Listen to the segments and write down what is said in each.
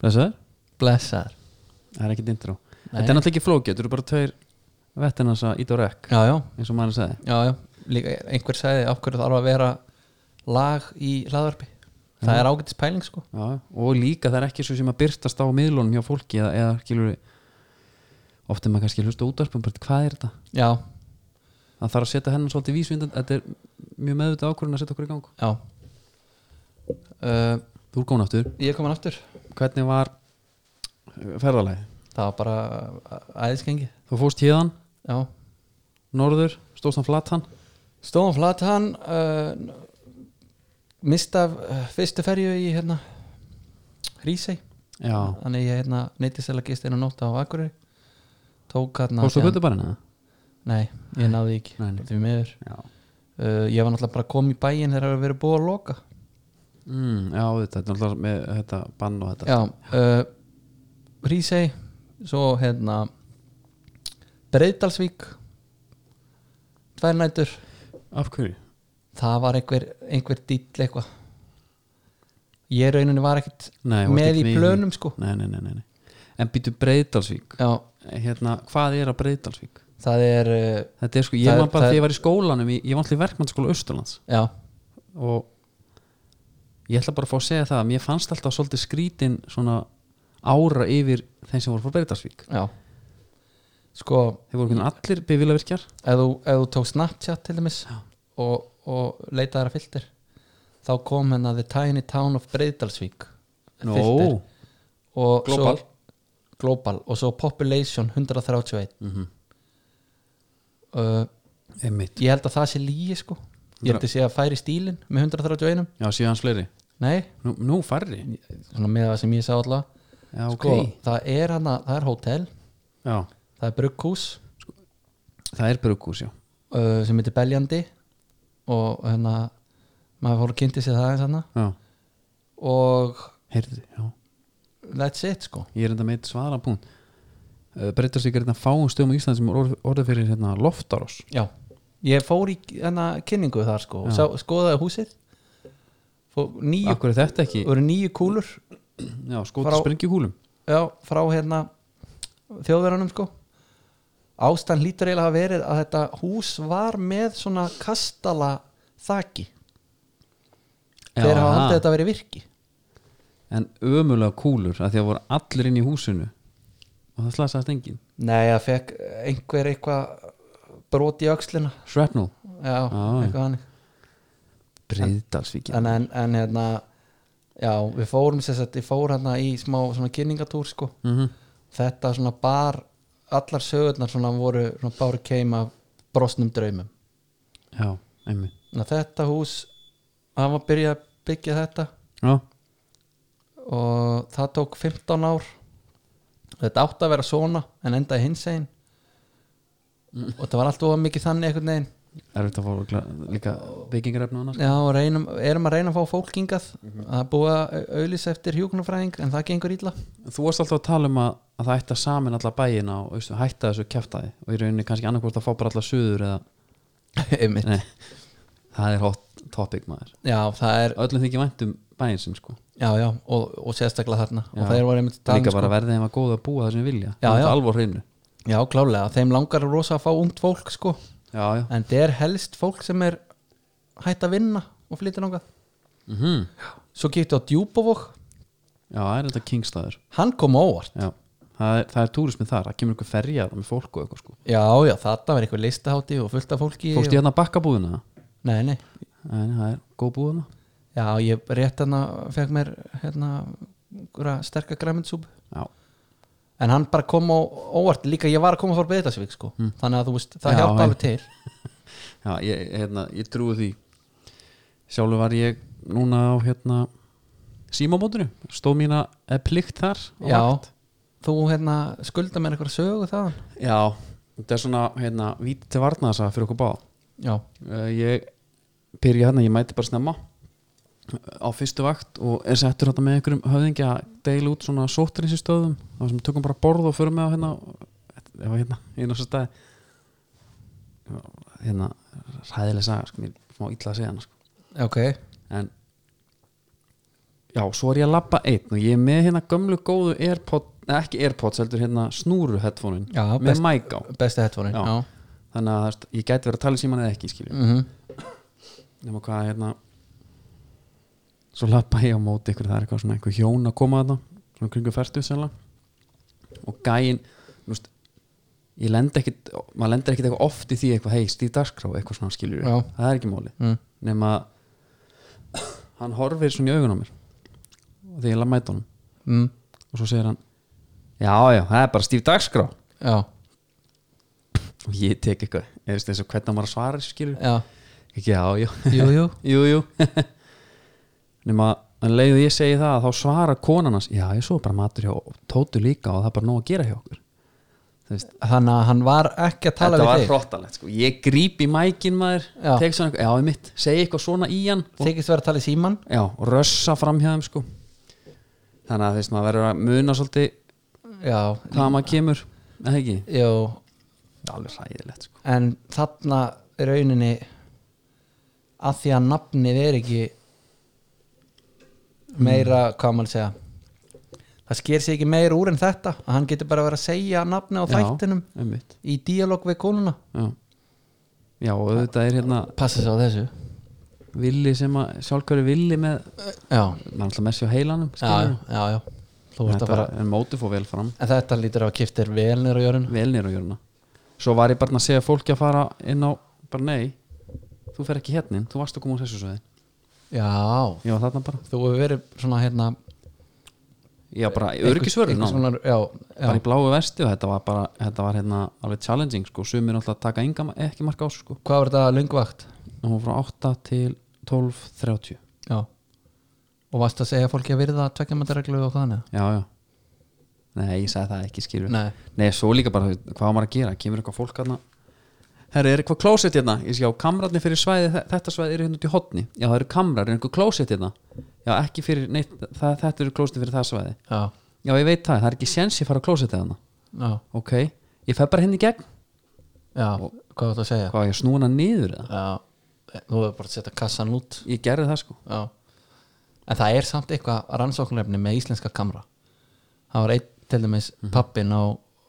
Blessaður? blessaður Það er ekkert intro Nei. Þetta er náttúrulega ekki flókið, þetta eru bara tveir vettin hans að ít og rekk já, já, eins og maður sagði já, já, líka einhver sagði af hverju þarf að vera lag í hlaðvarpi það er ágætis pæling sko Já, og líka það er ekki svo sem að byrtast á miðlunum hjá fólki eða, eða skilur oft er maður kannski að hlusta á útvarpum bara hvað er þetta? já, Það þarf að setja hennan svolítið vísvindan þetta er mjög meðvitað ákvörðin að setja okkur í gang já uh, Þú er góðan aftur, ég er komin aftur hvernig var ferðalagi? það var bara æðiskengi Þú fórst hérðan, já, norður, stóðst hann flatan stóðum flatan uh, mista uh, fyrstu ferju í hérna Rísei Já, þannig ég hérna neytist eða gist einu nótt á Akureyri tók hérna fórstu síðan- guttu bara hennar? nei, ég náði því ekki Nei, nei. því miður Já, uh, ég var náttúrulega bara kom í bæinn þegar það var verið búið að loka mm, já þetta er náttúrulega með þetta bann og þetta já, uh, Rísei svo hérna Breiðdalsvík Tværnætur Af hverju? það var einhver, einhver dýll eitthvað ég rauninni var ekkert Nei, þú ert með ekki í með í plönum sko Nei, nei, nei, nei, nei. En býtu Breiðdalsvík já, hérna, Hvað er að Breiðdalsvík? það er uh, Þetta er sko, Það ég er- var bara það er- þegar ég var í skólanum Ég, ég var alltaf í verkmannskóla Östurlands já, Og ég ætla bara að fá að segja það að Mér fannst alltaf svolítið skrítin svona ára yfir þeim sem voru frá Breiðdalsvík já sko, Þeir voru hvernig allir bifilavirkjar ef þú, ef þú tók Snapchat til dæmis og, og leitaðar að filter þá kom hérna The Tiny Town of Breiðdalsvík filter. Nó, og Global. svo, global og svo population 131 Mhm. uh, einmitt ég held að það sé líi sko ég held að sé að færi stílinn með 131 Já, síðan fleiri nei, Nú, nú færri svona með það sem ég sá allavega Já, ok sko, það er hana, það er hótel Já, það er brugghús það er brugghús, já uh, sem heitir Beljandi og hérna maður fór að kynnti sér það eins hana Já, og heyrðu, já that's it sko ég er enda með eitt svara punkt breytast ykkur hérna fáum stöðum í Ísland sem er orð- orðið fyrir hérna loftaros já, ég fór í hana kynningu þar sko, Já. Sá, skoðaði húsið fór nýju, akkur er þetta ekki, voru nýju kúlur já, skotu Frá- sprengjuhúlum já, frá hérna þjóðverðanum sko ástæðan hlýtur eiginlega að hafa verið að þetta hús var með svona kastala þaki þeir hafa haldið þetta að verið virki en ömulega kúlur að því að voru allir inn í húsinu og það slasaðast engin nei, það fekk einhver eitthvað brot í öxlina shrapnel, já, Já. eitthvað hann breyðdalsvíkin en, en, en hérna já, við fórum sér sett, ég fór hérna í smá svona kynningatúr sko mm -hmm. þetta svona bar allar sögurnar svona voru svona báru keim af brosnum draumum já, einmitt Ná, þetta hús hann var að byrja að byggja þetta já, og það tók 15 ár þetta átti að vera svona en endaði hins einn og það var alltaf mikið þannig einhvern veginn er þetta að fá örugglega líka byggingarefni og annars Já, og reynum, erum að reyna að fá fólk hingað Mhm. að búa auðlis eftir hjúknufræðing en það gengur illa þú varst alltaf að tala um að, að það ætti að samin alla bæina og veistu, hætta þessu kjaftaði og í rauninni kannski annarkvort að fá bara alla suður eða, Einmitt. nei, það er hot topic maður Já, það er öllum þykir vænt um bæinn sinn sko já, já, og, og sérstaklega þarna Já. og þeir voru einmitt að tala um, líka bara sko, verðið þeim að góða að búa það sem þeir vilja Já, Það er já. alvor hreinu Já, klálega, þeim langar rosa að fá ungt fólk sko. já, já. en þetta er helst fólk sem er hætt að vinna og flytja nága Mm Svo getur á Djúbovog já, það er þetta kingstæður hann kom á óvart já. það er, það er túrismin þar, það kemur einhver ferjar með fólk og eitthvað sko Já, já, þarna var eitthvað listahátti og fullt af fólki fólkst og... ég hérna að bakka búðina Nei, nei, en það er góð búðina já, ég rétt hérna fekk mér hérna einhverja sterka græminsúb já, en hann bara kom á óvart líka ég var að koma frá Breiðdalsvík sko þannig að þú veist, það Mm. Já, hjálpa en- alveg til já ég, hérna, ég trúi því sjálfur var ég núna á hérna símamótinu, stóð mína eh, plikt þar á Já, vakt. þú hérna skulda mér eitthvað sögu þaðan já, þetta er svona hérna, víti til varnasa fyrir okkur báð Já, Uh, ég byrja hérna, ég mæti bara snemma á fyrstu vakt og er settur hérna með einhverjum höfðingi að deila út svona sóttrinsinstöðum þá sem tökum bara borð og förum með á hérna ef að hérna, einu þessu stæði hérna ræðilega saga, sko, mér má illa að segja hana sko. ok en já, svo er ég að labba einn og ég er með hérna gömlu góðu Airpod, neða ekki Airpods, heldur hérna snúru headphone Já, með best- mic á besti headphone Já. já. þannig að þú veist, ég gæti verið að tala í síman eða ekki skilju Mhm. nema hvað hérna svo lappa ég á móti ykkur það er eitthvað svona einhver hjón að koma að það svona kringu færtu sérlega og gæin þú veist, ég lend ekkit maður lendir ekkit eitthvað oft í því eitthvað hei Steve Daskrá eitthvað svona skilur Já. það er ekki móli Mm. nema að hann horfir svona í augun á mér og þegar ég laði mæta honum Mm. og svo segir hann já já það er bara Steve Daskrá já, og ég tek eitthvað ég veist eins og hvernig hann var að svara þessu skilur já, ekki já já jú, jú jú, jú nema að leiðu ég segi það þá svarar konan hans já ég svo bara matur hjá Tótu líka og það er bara nóg að gera hjá okkur þannig að hann var ekki að tala þetta var við þig hróttalegt sko. ég gríp í mækin maður Já. tek svona, eitthvað- já, mitt, segi eitthvað svona í hann og, þykist vera að tala í síman já, og rössa fram hjá þeim sko. þannig að þú veist, maður verður að muna svolítið já, hvað maður kemur eða ekki, jú, alveg ræðilegt sko. en þarna í rauninni að því að nafnið er ekki meira hvað maður að segja það sker sig ekki meira úr en þetta að hann getur bara verið að segja nafni á Já. þættinum einmitt, í díalóg við konuna já já, og auðvitað er hérna passa sig á þessu villi sem að sjálfkværi villi með, já, maður alltaf með sér á heilanum já, skilurðu. já, já. Þú vorst að Þetta, fara en mótið fór vel fram en þetta lítur að kiptir vel nýra á jörun vel nýra á jörna svo var ég bara að segja fólki að fara inn á bara nei, þú fer ekki hérna inn, þú varst að koma úr þessu svoði já, ég var þarna bara, þú hefur verið svona hérna ég var bara einhvers- örgisvörun einhvers konar- já, já, bara í bláu vesti og þetta var bara þetta var hérna alveg challenging sko sumir alltaf taka enga, ekki marka ás sko hvað var þetta löngvakt og hún var frá 8 til 12.30 já, já. og varst að segja fólki að virða tvekkjamöndarreglu og þannig já nei, ég sagði það ekki skilur Nei. Nei, svo líka bara, þú veist, hvað á maður að gera kemur eitthvað fólk hérna herri, er eitthvað klósett hérna, ég sé á kamrarnir fyrir svæði þe- þetta svæði eru hérna út í hotni já, það eru kamrar, er eitthvað klósett hérna já, ekki fyrir, neitt, það, þetta eru klósett fyrir það svæði já, já, ég veit það, það er ekki séns ég fara á klósett hérna já, ok, ég fer bara henni í gegn já. hvað var þetta að segja hvað, ég snúna niður eða já. nú hefur bara að setja kassan út ég gerði það sko, já. en það er samt eitthvað rannsóknlefni með íslenska kamra það var einn til dæmis Mhm. mm. pappin á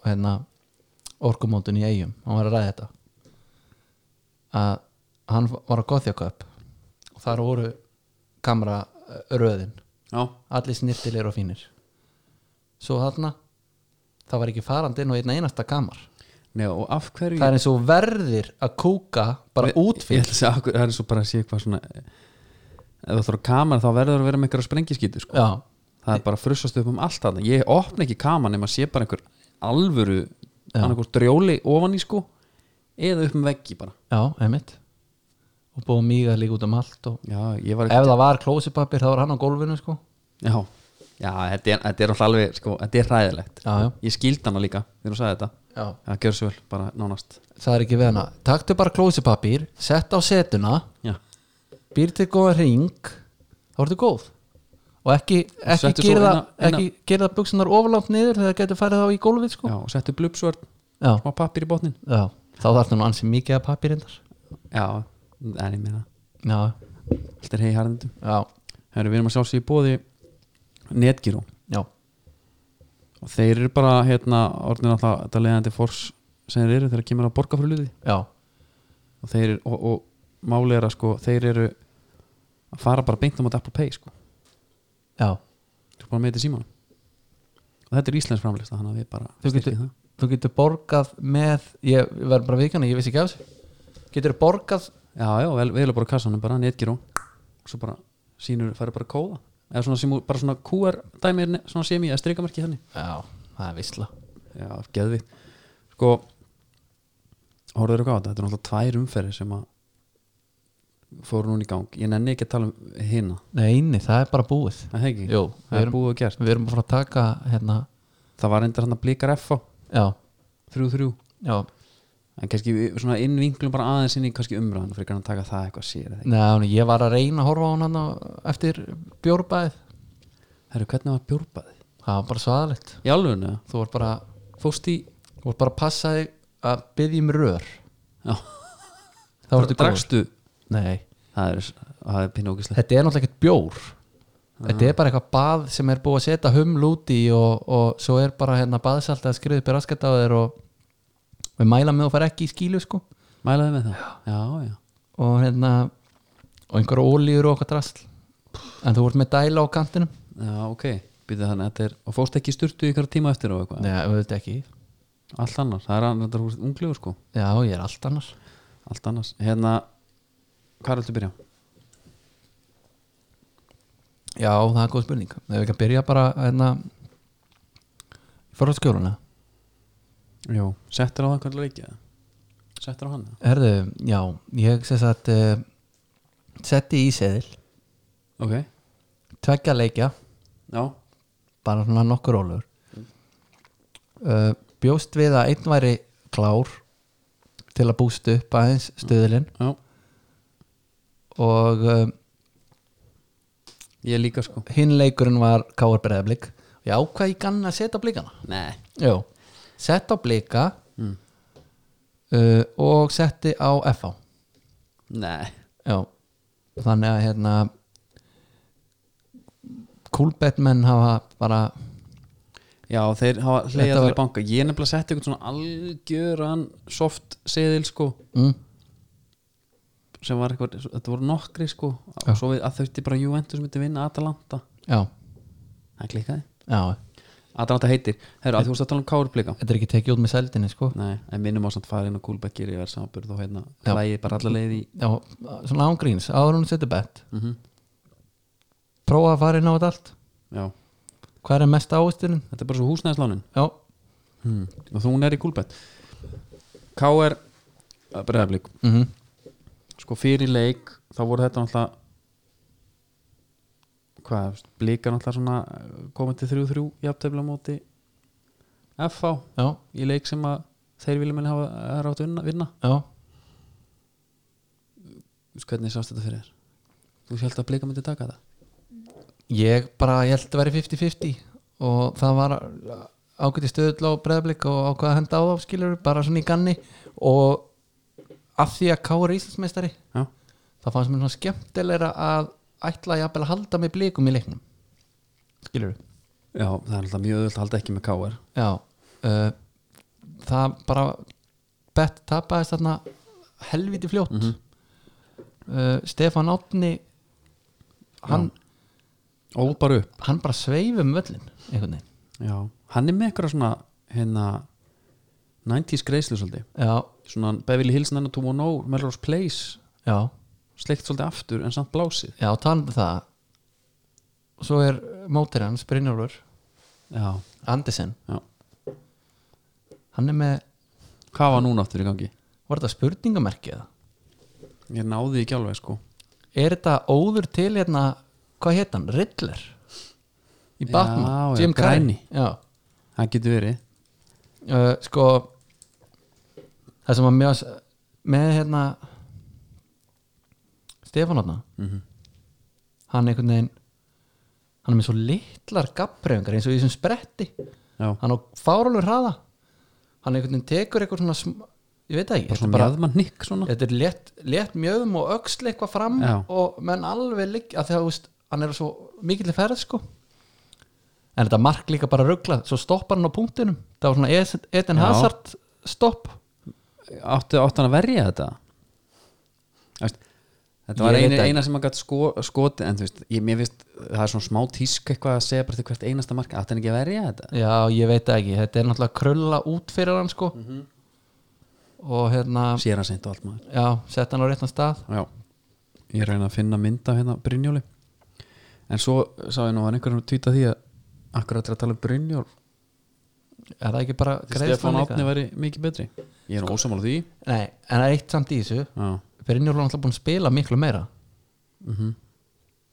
hérna, orkumótun í eigum hann var að ræða þetta að hann var að gothja köp og þar voru kamra eh, röðin já, allir snirtilir og fínir svo þarna það var ekki farandi inn á einna einasta kamar Nei, og af hverju það er eins og verðir að kúka bara út ég fyrir ætla að segja, af hverju- það er svo bara að sé eitthvað svona eh, ef þú ætlar á kamar þá verður það að vera með einhverja sprengiskýtu sko. já, það er bara að frussast upp um allt þarna ég opna ekki kaman nema sé bara einhver alvöru annarkur drjóli ofan í sko eða upp um veggi bara já, einmitt og búið mýga líka út um allt og já, ég var ef það var klósipapir þá var hann á gólfinu sko já, já þetta, er, þetta er alltaf alveg sko, þetta er hræðilegt já, já, ég skildi hana líka þegar hún sagði þetta já. það gjör svo vel, bara nánast það er ekki við hana taktu bara klósipapir, sett á setuna já, býr til góða ring þá ertu góð og ekki, ekki Settu svo gerða, inn á- inn á- ekki gerða buksunar oflátt niður þegar það getur farið þá í gólfið sko já og settu blubsvörn já. smá pappir í botnin Já, þá þarf nú ansið mikið að papirindar já, en ég meina Já, allt er hei harðindum já, Heru, við erum að sjá sér í bóði netgíró já, og þeir eru bara hérna orðin alltaf þetta leiðandi fórs sem þeir eru þegar kemur að borga fyrir luði já, og þeir eru, og, og máli er að sko þeir eru að fara bara beint á móti Apple Pay sko, já. þú er bara með þetta síman og þetta er Íslands framlista þannig að við bara Þú styrkjum getur- það. Þú getur borgað með Ég verð bara vikana, ég vissi ekki af þessu Getur borgað já, já, vel, við erum bara á kassanum bara netgiró og svo bara sínur, færi bara kóða eða svona sem, bara svona QR dæmi er ne- svona sem ég, eða hérna. strikamarki þannig Já, það er visla já, geðvitt sko, horfður eitthvað á þetta þetta er náttúrulega tvær umferðir sem að fóru núna í gang, ég nenni ekki að tala um hina, Nei, nei, það er bara búið það hegi Jú, við það er erum- búið og gert, Við erum bara að fara að taka hérna það var endur hann að blíkar F á Já, 3-3 já, en kannski við svona innvinglum bara aðeins inn í kannski umræðan fyrir að taka það eitthvað sér eða ekki. neða, ég var að reyna að horfa á hann eftir bjórbæð Herru, hvernig var bjórbæði? Það var bara svaðalegt Í alveg neða? Þú var bara, Fóst í? þú var bara að passa þig að byggja um rör Já, Það var þetta drakstu? Nei, Það er, það er pínu ógislega þetta er náttúrulega ekkert bjór þetta er bara eitthvað bað sem er búið að setja huml út í og, og svo er bara hérna baðsalt að skriða upp í raskat á þér og við mæla með og fara ekki í skílu sko Mælaði með það? Já, já og hérna og einhverja ólíur og okkar drasl en þú vart með dæla á kantinum Já, ok, býtið þannig að þetta er og fórst ekki í sturtu í ykkur tíma eftir og eitthvað Nei, auðvitað ekki Allt annar, það er annar þetta húst unglegu sko Já, ég er allt annars Allt annars, hérna Hvað er þetta að byrja? Já, það er góð spurning Ef við ekki að byrja bara hérna Fórhaldsskjóluna Jó, settir á það hvernig leikja Settir á hann eða? Herðu, já, ég sess að uh, setti í seðil Ok, tveggja leikja já, bara svona nokkur ólur uh, bjóst við að einn væri klár til að búst upp aðeins stöðlinn já og uh, Ég líka sko hinn leikurinn var Káar Breiðablík já, hvað ég kann að setja á blíkana Nei já, sett á blíka mm. uh, og setti á FH Nei já, þannig að hérna kúlbettmenn hafa bara Já, þeir hafa Þetta hleyjað var- til banka Ég er nefnilega að setja eitthvað svona algjöran soft seðil sko mm, sem var eitthvað, þetta voru nokkri sko Já. og svo við, að þauðti bara Juventus myndi vinna Atalanta, já, það klikkaði já Atalanta heitir, herru, að þú veist að tala um Kárblika þetta er ekki tekið út með seldinni sko Nei, en minnum á samt farið inn á Kúlbekkir í verðsamanburð og hérna Já. hlægið bara alla leið í já, svona ángríns, áður en hún setur bett mm prófa að fara inn á þetta allt Já, hvað er mesta ávisturinn? þetta er bara svo húsnæðislánin já, hmm. og þú hún er í Kúlbekk Kár Breðablík, mm sko fyrir leik þá voru þetta náttúrulega hvað, blíkar náttúrulega svona eh, komið til 3-3 jafntefla á móti FH já, í leik sem að þeir vilja menni hafa eh, rátt að vinna já Þú veist, hvernig sást þetta fyrir þér þú held að blika myndi taka það ég bara, ég held að vera 50-50 og það var ágæti stöðl á breðablik og ákvaða að henda á þá skilur, bara svona í ganni og af því að Káur er Íslandsmeistari já, það fannst mér svona skemmtilegra að ætla jafnvel að halda með blikum í leiknum skilur já það er alltaf mjög öðvöld að halda ekki með KR já uh, það bara bett tapaðist þarna helviti fljótt uh, Stefan Átni hann, og bara upp hann bara sveifum völlin einhvern veginn já. hann er með eitthvað svona hérna 90s greislu svolítið já, svona Beverly Hills 90210 Melrose Place já, sleikt svolítið aftur en samt blásið já, talandi um það svo er mótir hans Brynjólfur já, Andersen já hann er með, hvað var núna aftur í gangi? var þetta spurningamerki eða? ég náði því ekki alveg sko er þetta óður til hérna, hvað hétt hann, Riddler í Já, Batman, já, Jim Carrey Græni. já, það getur verið uh, sko það sem var mjög með hérna Stefán Otna Mhm. hann einhvern veginn hann er með svo litlar gabbreyfingar eins og í þessum spretti já, hann á fáralur hraða hann einhvern veginn tekur eitthvað svona sm- ég veit það ekki, bara þetta er svona bara mjöðmann nikk svona þetta er létt, létt mjöðum og öxl eitthvað fram Já. og menn alveg ligg að því að þú veist, hann er svo mikill í ferð sko en þetta mark líka bara ruggla svo stoppar hann á punktinum það var svona Es- Eden Já. Hazard stopp áttu, áttu hann að verja þetta Æst, þetta Ég var veit eina, það ekki. eina sem hann gætt sko, skoti en þú veist, ég, mér finnst það er svona smá tísk eitthvað að segja bara til hvert einasta mark áttu hann ekki að verja þetta já ég veit það ekki, þetta er náttúrulega krulla út fyrir hann sko og hérna sér hann seint og allt maður já, sett hann á réttan stað Já, ég reyna að finna mynda hérna Brynjóli en svo sá ég nú að einhverjum týta því að akkurat er að tala um Brynjól er það ekki bara Stefán greiðslan Átni líka? væri mikið betri ég er nú ósamála því Nei, en það er eitt samt í þessu Já, Brynjólf er náttúrulega búin að spila miklu meira mhm.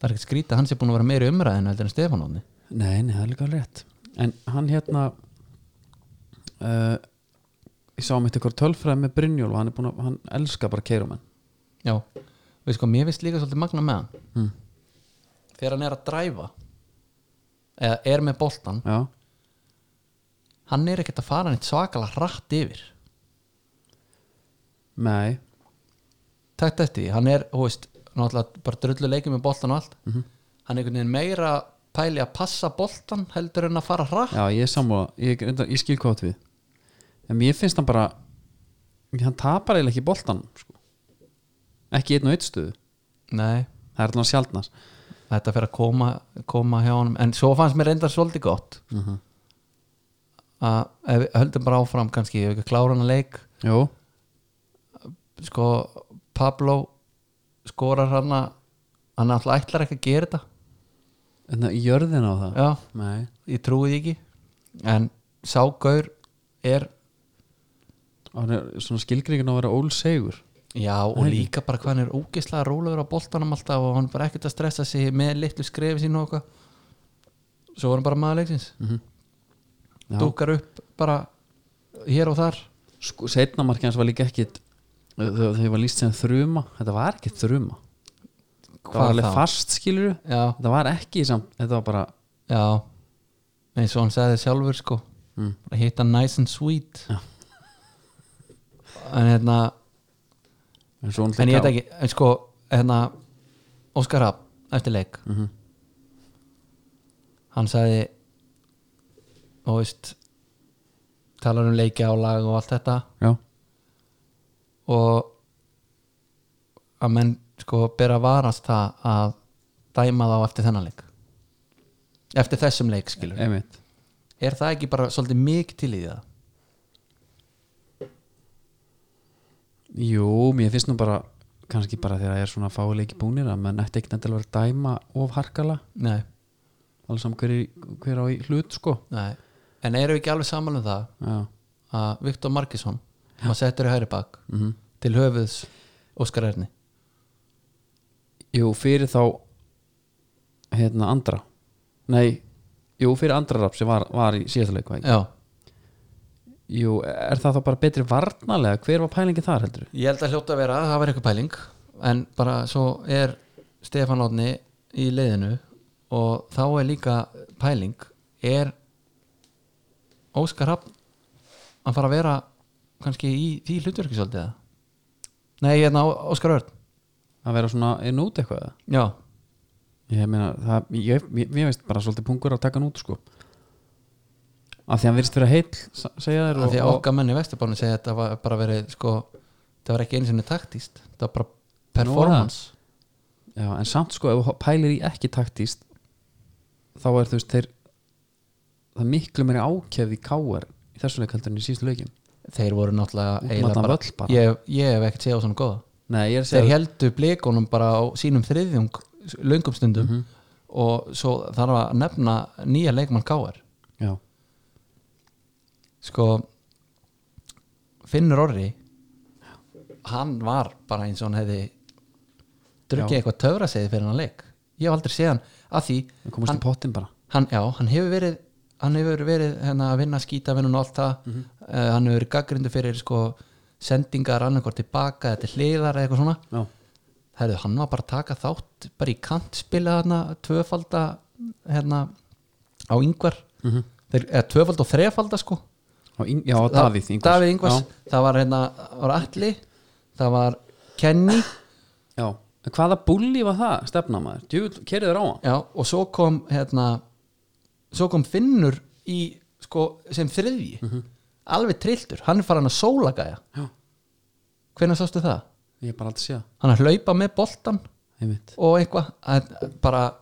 það er ekkert skrítið að hann sé búin að vera meira í umræðinu heldur en Stefán Átni Nei, nei, það er líka alveg rétt En hann hérna uh, Ég sá mitt eitthvað tölfræði með Brynjól og hann er búin að, hann elskar bara keirumenn Já, veist sko, mér finnst líka svolítið magna með hann mm. þegar hann er að dræfa eða er með boltan Já, hann er ekkert að fara neitt svakalega hratt yfir nei Mhm. takt eftir því, hann er, hú veist náttúrulega bara drullu leikið með boltan og allt hann er einhvern veginn meira pæli að passa boltan heldur en að fara hratt Já, ég er sammála, ég, reyndar- ég skil hvað átt við En mér finnst hann bara Hann tapar eiginlega ekki boltan sko. Ekki einn og einn stöðu Nei, Það er allan sjaldnar þetta fer að koma, koma hjá honum en svo fannst mér reyndar svolítið gott Mhm. að ef við höldum bara áfram kannski, ef við ekki klára hann að leik Jó, sko Pablo skorar hann að hann alltaf ætlar ekki að gera þetta en það jörðin á það já, Nei, ég trúi því ekki en ságaur er hann er svona skilgringin á að vera ólsegur Já og líka bara hvað hann er ógislega rólegur á boltanum alltaf og hann er bara ekkert að stressa sig með litlu skrefi sín og eitthvað svo var hann bara maður leiksins Já. dúkar upp bara hér og þar sko, Seinna markið hans var líka ekkit Þegar þegar var líst sem þruma Þetta var ekki þruma Það var alveg fast skilur Já, Þetta var ekki samt, þetta var bara já eins og hann sagði sjálfur sko Mm. bara hitta nice and sweet Já. en hérna En, svo en ég veit ekki, en sko hérna, Óskar Rapp eftir leik Mhm. hann sagði og veist talar um leiki álag og allt þetta Já, og að menn sko bera að varast það að dæma þá eftir þennan leik eftir þessum leik skilur einmitt er það ekki bara svolítið mikið til í það Jú, mér finnst nú bara kannski bara þegar það er svona fáið leiki búnir að menn ætti ekkert endilega að vera að dæma of harkala nei, alveg saman hver, í- hver á í hlut sko nei. en eru við ekki alveg saman um það Já, að Viktor Markisson maður settur í hæri bak mhm til höfuðs Óskar Erni Jú, fyrir þá hérna andra Nei, jú, fyrir andra rap sem var, var í síðasta leik var ekki? já. Jú, er það þá bara betri varnalega? Hver var pælingi þar heldur? ég held að hljóta að vera, það var eitthvað pæling en bara svo er Stefán Átni í leiðinu og þá er líka pæling er Óskar Rapp að fara að vera kannski í því hlutverki svolítið eða? nei, hérna Ó- Óskar Örn Að vera svona inn út eitthvað eða? já, Ég meina, það, ég, ég, ég veist bara svolítið pungur að taka hann út sko Af því hann virðist vera heill sa- segja þér af því að og, okkar menn í Vesturbánu segja að þetta var bara verið sko, það var ekki einu sinni taktíst það var bara performance og já, En samt sko, ef þú pælir í ekki taktíst þá er þú veist þeir það er miklu meiri ákefð í káar í þessu leik heldur en í síðustu leikin þeir voru náttúrulega Út um eiginlega allan völl bara. Ég, ég hef ekkert séð á svona góða Nei, ég er að þeir segja heldu blikunum bara á sínum þriðjung löngum stundum Mhm. og svo þarf að nefna nýja leikmann Káar Já, sko Finnur Orri hann var bara eins og hann hefði Já. drukkið eitthvað töfra segið fyrir hann leik ég hef aldrei séð hann að því það komast hann, í pottin bara hann, já, hann hefur verið hann hefur verið hérna, að vinna skítavinnun og allt það Mhm. uh, hann hefur verið gaggrindu fyrir sko, sendingar annarkort tilbaka eða til hliðar eða eitthvað svona Já, Herðu, hann var bara að taka þátt bara í kantspila þarna tvöfalda hérna á yngvar Þeir, eða tvöfalda og þrefalda sko Mhm. á, Ing- já, á Það- Davíð Ingvars. Davíð Ingvars, það var hérna það var Atli, það var Kenny Já, já. En Hvaða búli var það, stefna maður? Djúvill, kerið þér á hann? já, og svo kom hérna, svo kom Finnur í sko sem þriðji alveg trilltur, hann er farin að sólagæja Já. hvenær sástu það? Ég er bara aldrei séð Hann að hlaupa með boltan Einmitt. og eitthvað að- bara,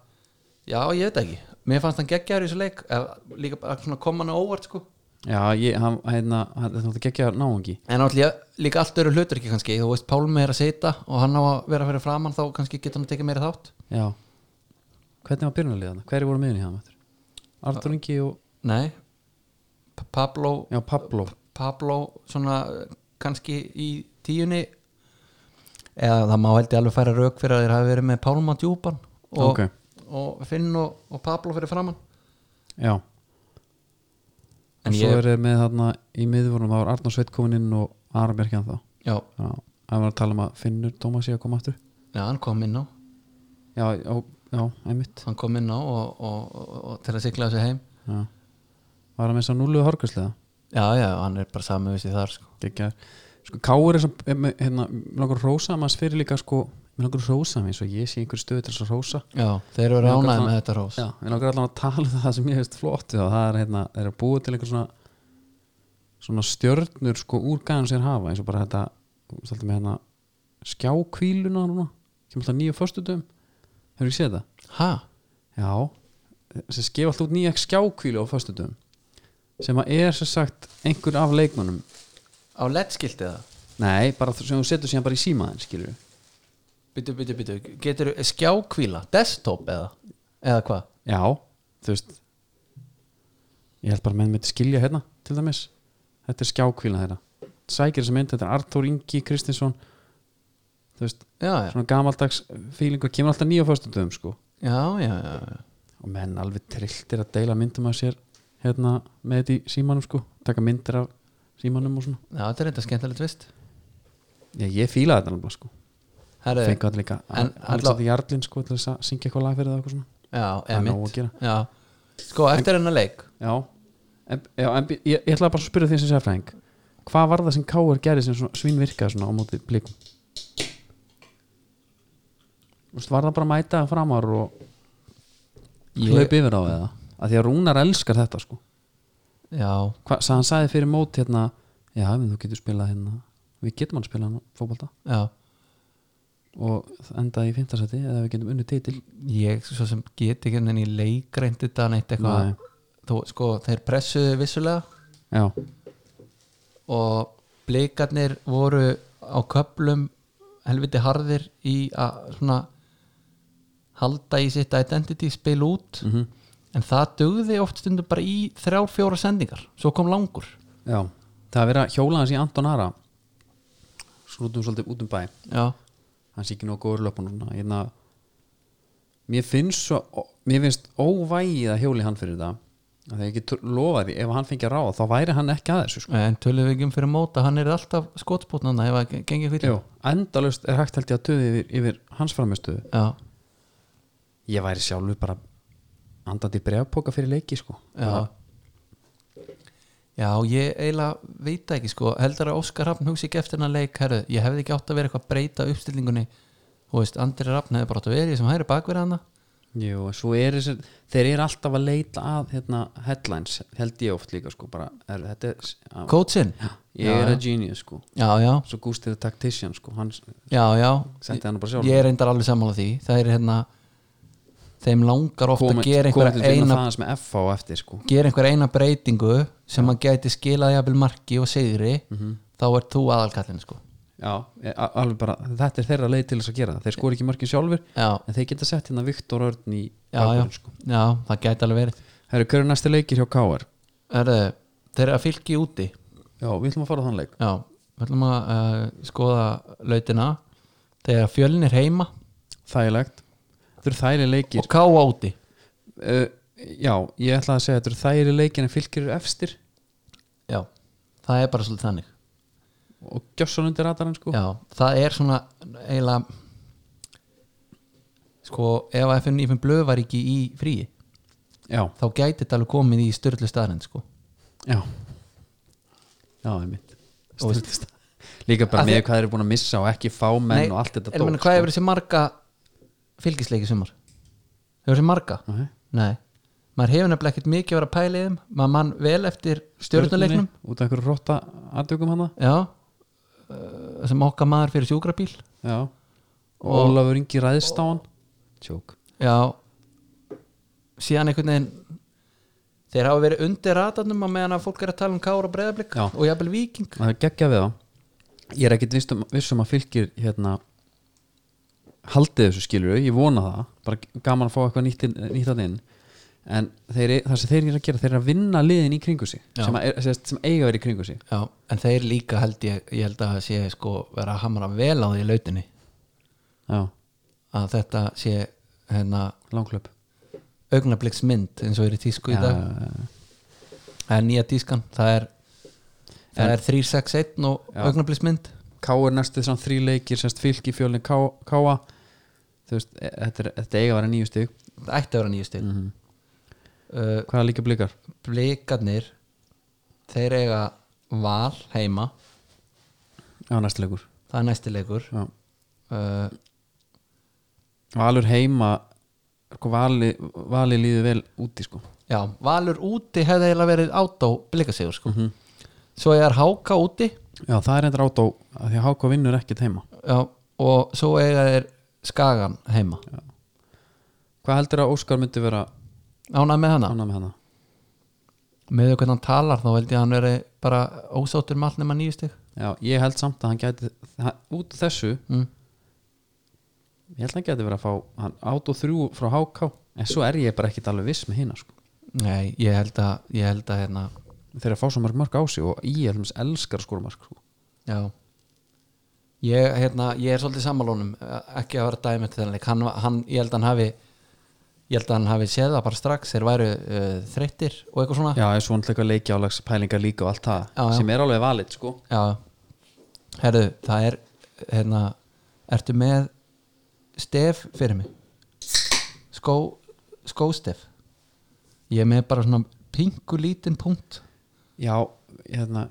já ég veit ekki mér fannst hann geggjaður í þessu leik eða líka bara svona kom hann á óvart sko Já, ég, hann, hérna, hann, þetta náttúrulega gekkja náungi en náttúrulega líka allt öru hlutur ekki kannski þú veist Pálmi er að seita og hann á að vera fyrir framann þá kannski getur hann að teka meira þátt Já Hvernig var byrjunarliðan? Hverju voru meðin í hann? Aftur? Artur Ingi og nei P- Pablo, já, Pablo Pablo svona eh, kannski í tíunni eða það má held ég alveg færa rauk fyrir að þeir hafi verið með Pálma djúpan og, Ok. og Finn og, og Pablo fyrir framann Já En Og svo ég- er þeir með þarna í miðvörnum Það var Arnur Sveit komin inn og Aron Bjarki hann þá já, Já, hann var að tala um að Finnur Tómas ég að koma aftur já hann kom inn á Já, já, já einmitt hann kom inn á og, og, og, og til að sigla þessu heim já. Var hann með þess að núluðu hörguslega? já, já, hann er bara sami við sér þar sko. eh, Gekkjaður Sko, Káur er sem, er með, hérna, langar hrósa að maður fyrir líka sko mér langar að rósa mig svo ég sé einhver stöðu til þess að rósa já, þeir eru Mig langar ránaði svona- með þetta rós já, mér langar allan að tala um það sem ég hefist flott og það er, hérna, er að búa til einhver svona svona stjörnur sko úr gæðan sér hafa eins og bara þetta stoltum með hérna skjákvíluna núna, kemur alltaf nýju föstudum hefur ekki séð þetta? ha, Já, sem skef allt út nýja skjákvílu á föstudum sem að er sem sagt einhver af leikmönnum á lettskiltið það nei, bara þ- sem þú setur síðan bara í símaðin skilur byttu, byttu, byttu, getur skjákvíla desktop eða, eða hvað já, þú veist ég held bara að menn myndi skilja hérna til dæmis, þetta er skjákvíla þeirra sækir þessa mynd, þetta er Arthur Ingi Kristinsson þú veist, já, já, svona gamaldags fíling og kemur alltaf nýja á föstudum sko já, já, já, já. og menn alveg trilltir að deila myndum af sér hérna með þetta í símanum sko taka myndir af símanum og svona já þetta er eitthvað skemmtilegt vist Já, ég fílaði þetta alveg sko Herru, Fengu allir líka En Alexander Jarlín sko til þess að syngja eitthvað lag fyrir það og eitthvað svona já, Það er nóg að emitt gera. já. sko, eftir hennar leik Já, en, já en, bí- ég, ég ætlaði bara að spyrja því sem sérfræðing Hvað var það sem K.R. gerði sem svona, svín virkaði svona á móti blikum? Þú veist, var það bara að mæta framar og Ég- hlaup yfir á eða? Að því að Rúnar elskar þetta sko já, Hva, sað, Hann sagði fyrir mót hérna Já, en þú getur spilað hérna Við getum alveg spilað hérna fótbolta já og endaði í fimmtarsæti eða við getum unnu titil ég svo sem get ekki um en ég leikrænt þetta neitt eitthvað Nei. Þó, sko, þeir pressuðu vissulega Já, og blikarnir voru á köplum helviti harðir í að svona halda í sitt identity spil út Mhm. en það dugði oft stundum bara í þrjár fjóra sendingar, svo kom langur Já, það að vera hjólaðans í Anton Ara skrútum svolítið út um bæ já, hann sé ekki nóg góður í löpunum svona. hérna, mér finnst svo mér finnst óvægið að hjóli hann fyrir það að það ekki lofa því ef hann fengi að ráða þá væri hann ekki að þessu sko. en tölum við ekki um fyrir móta hann er alltaf skotspotnana ef að gengi fyrir Jú, endalaust er hægt held ég að töði yfir, yfir hans framistuðu já, ég væri sjálfur bara andandi brefpoka fyrir leiki sko. Já Já, ég eiginlega veit það ekki sko heldur að Óskar Rafn hugsi ekki eftir hennar leik herru, ég hefði ekki átt að vera eitthvað að breyta uppstillingunni þú veist, Andri Rafn hefði bara átt að vera í sem hæri bakverð hana Jú, svo er þessi, þeir eru alltaf að leita að hérna, headlines held ég oft líka sko, bara, er, þetta er, Coachin? ég er a genius sko Já, já, svo Gústi the Tactician sko hann setti já, já hann bara sjálf Ég er reyndar alveg sammála því það er hérna þeim langar ofta að gera einhverja eina eina það sem F á eftir sko gera einhverja eina breytingu sem að gæti skilað jafnvel marki og sigri þá er þú aðalkallin sko já, e- a- alveg bara þetta er þeirra leið til þess að gera það þeir skori ekki mörkin sjálfur Já, en þeir geta sett hérna Viktor Örn í já, já, ákvörðun, sko já, það gæti alveg verið herru, hver er næsti leikir hjá K.R.? Herðu, þeir eru að fylgi úti já, við ætlum að fara á þann leik Já, við ætlum að uh, skoða lautina þegar fjölnir heima þægilegt þetta eru þægileg leikir og káa úti uh, já, ég ætla að segja þetta eru þægileg leikir en fylgir eru efstir Já, það er bara svolítið þannig og gjössan undir radarinn sko Já, það er svona eiginlega sko, ef að FN Ífn Blöð var ekki í fríi já, þá gæti þetta alveg komið í styrlu staðarind sko Já Já, einmitt Og veist- Stundist. Líka bara Af með því- hvað þeir eru búin að missa og ekki fá menn og allt þetta sko. en ég meina, Hvað hefur þessi marga fylgisleiki sumar? Hefur þessi marga? Nei. Nei, maður hefur nefnilega ekkert mikið að vera að pæla í þeim, maður mann vel eftir stjórnuleiknum Út af einhverju rotta aðtökum hana Já eh, sem okkar maður fyrir sjúkrabíl Já Og Ólafur Ingi ræðist á hann Tjók Já síðan einhvern veginn þeir hafa verið undir ratarnum á meðan að fólk er að tala um Kára Breiðablik Já. og jafnvel Víking Það er geggja við það Ég er ekkit viss um- viss um að fylgir hérna haldið þessu skilur ég vona það, bara gaman að fá eitthvað nýtt, inn- nýtt að inn en þeir, e- það sem þeir eru að gera, þeir eru að vinna liðin í kringu sig, Já. sem, að er, sem, sagt, sem eiga verið í kringu sig Já, en þeir líka held ég, ég held að sé sko vera að hamra vel á því í lautinni Já, að þetta sé hérna langklöp augnabliksmynd eins og er í tísku í dag það er nýja tískan, það er það er 361 og Já. augnabliksmynd K er næstu þessum þrý leikir semst fylki fjölni K, K þú veist, e- þetta, er, þetta eiga að vera nýju stig það ætti að vera nýju Eh, stil mm Mhm. hvaða líka blikar? blikarnir þeir eiga val heima Já, næstu leikur það er næsti leikur Já, uh, Valur heima sko, vali, vali líður vel úti sko. Já, Valur úti hefði eiginlega verið át á blikasegur sko Svo er Háka úti Já, það er endur át á af því að Háka vinnur ekkert heima já, og svo eiga þeir Skagan heima Hvað heldur að Óskar myndi vera Ánað með hana ánað með hana? Með því hvernig hann talar þá held ég að hann veri bara ósáttur með allt nema nýju stig Já, ég held samt að hann gæti það, út af þessu, mm. ég held að hann gæti verið að fá hann át og þrjú frá Háka en svo er ég bara ekkert alveg viss með hina sko. Nei, ég held að, ég held að hérna, þegar að fá svo mörg mörg á sig og ég er þess elskar að skora mörg sko. já Ég, hérna, ég er svolítið sammálónum ekki að vera dæmi til þennan leik. hann, hann, ég held að hann hafi ég held að hann hafi séð það bara strax þeir væru uh, þreyttir og eitthvað svona Já, er svona eitthvað leikjálags pælingar líka og allt það Já, já. sem er alveg valið sko. Já, herðu, það er hérna, ertu með stef fyrir mig skó, skóstef ég er með bara svona pingu lítinn punkt Já, hérna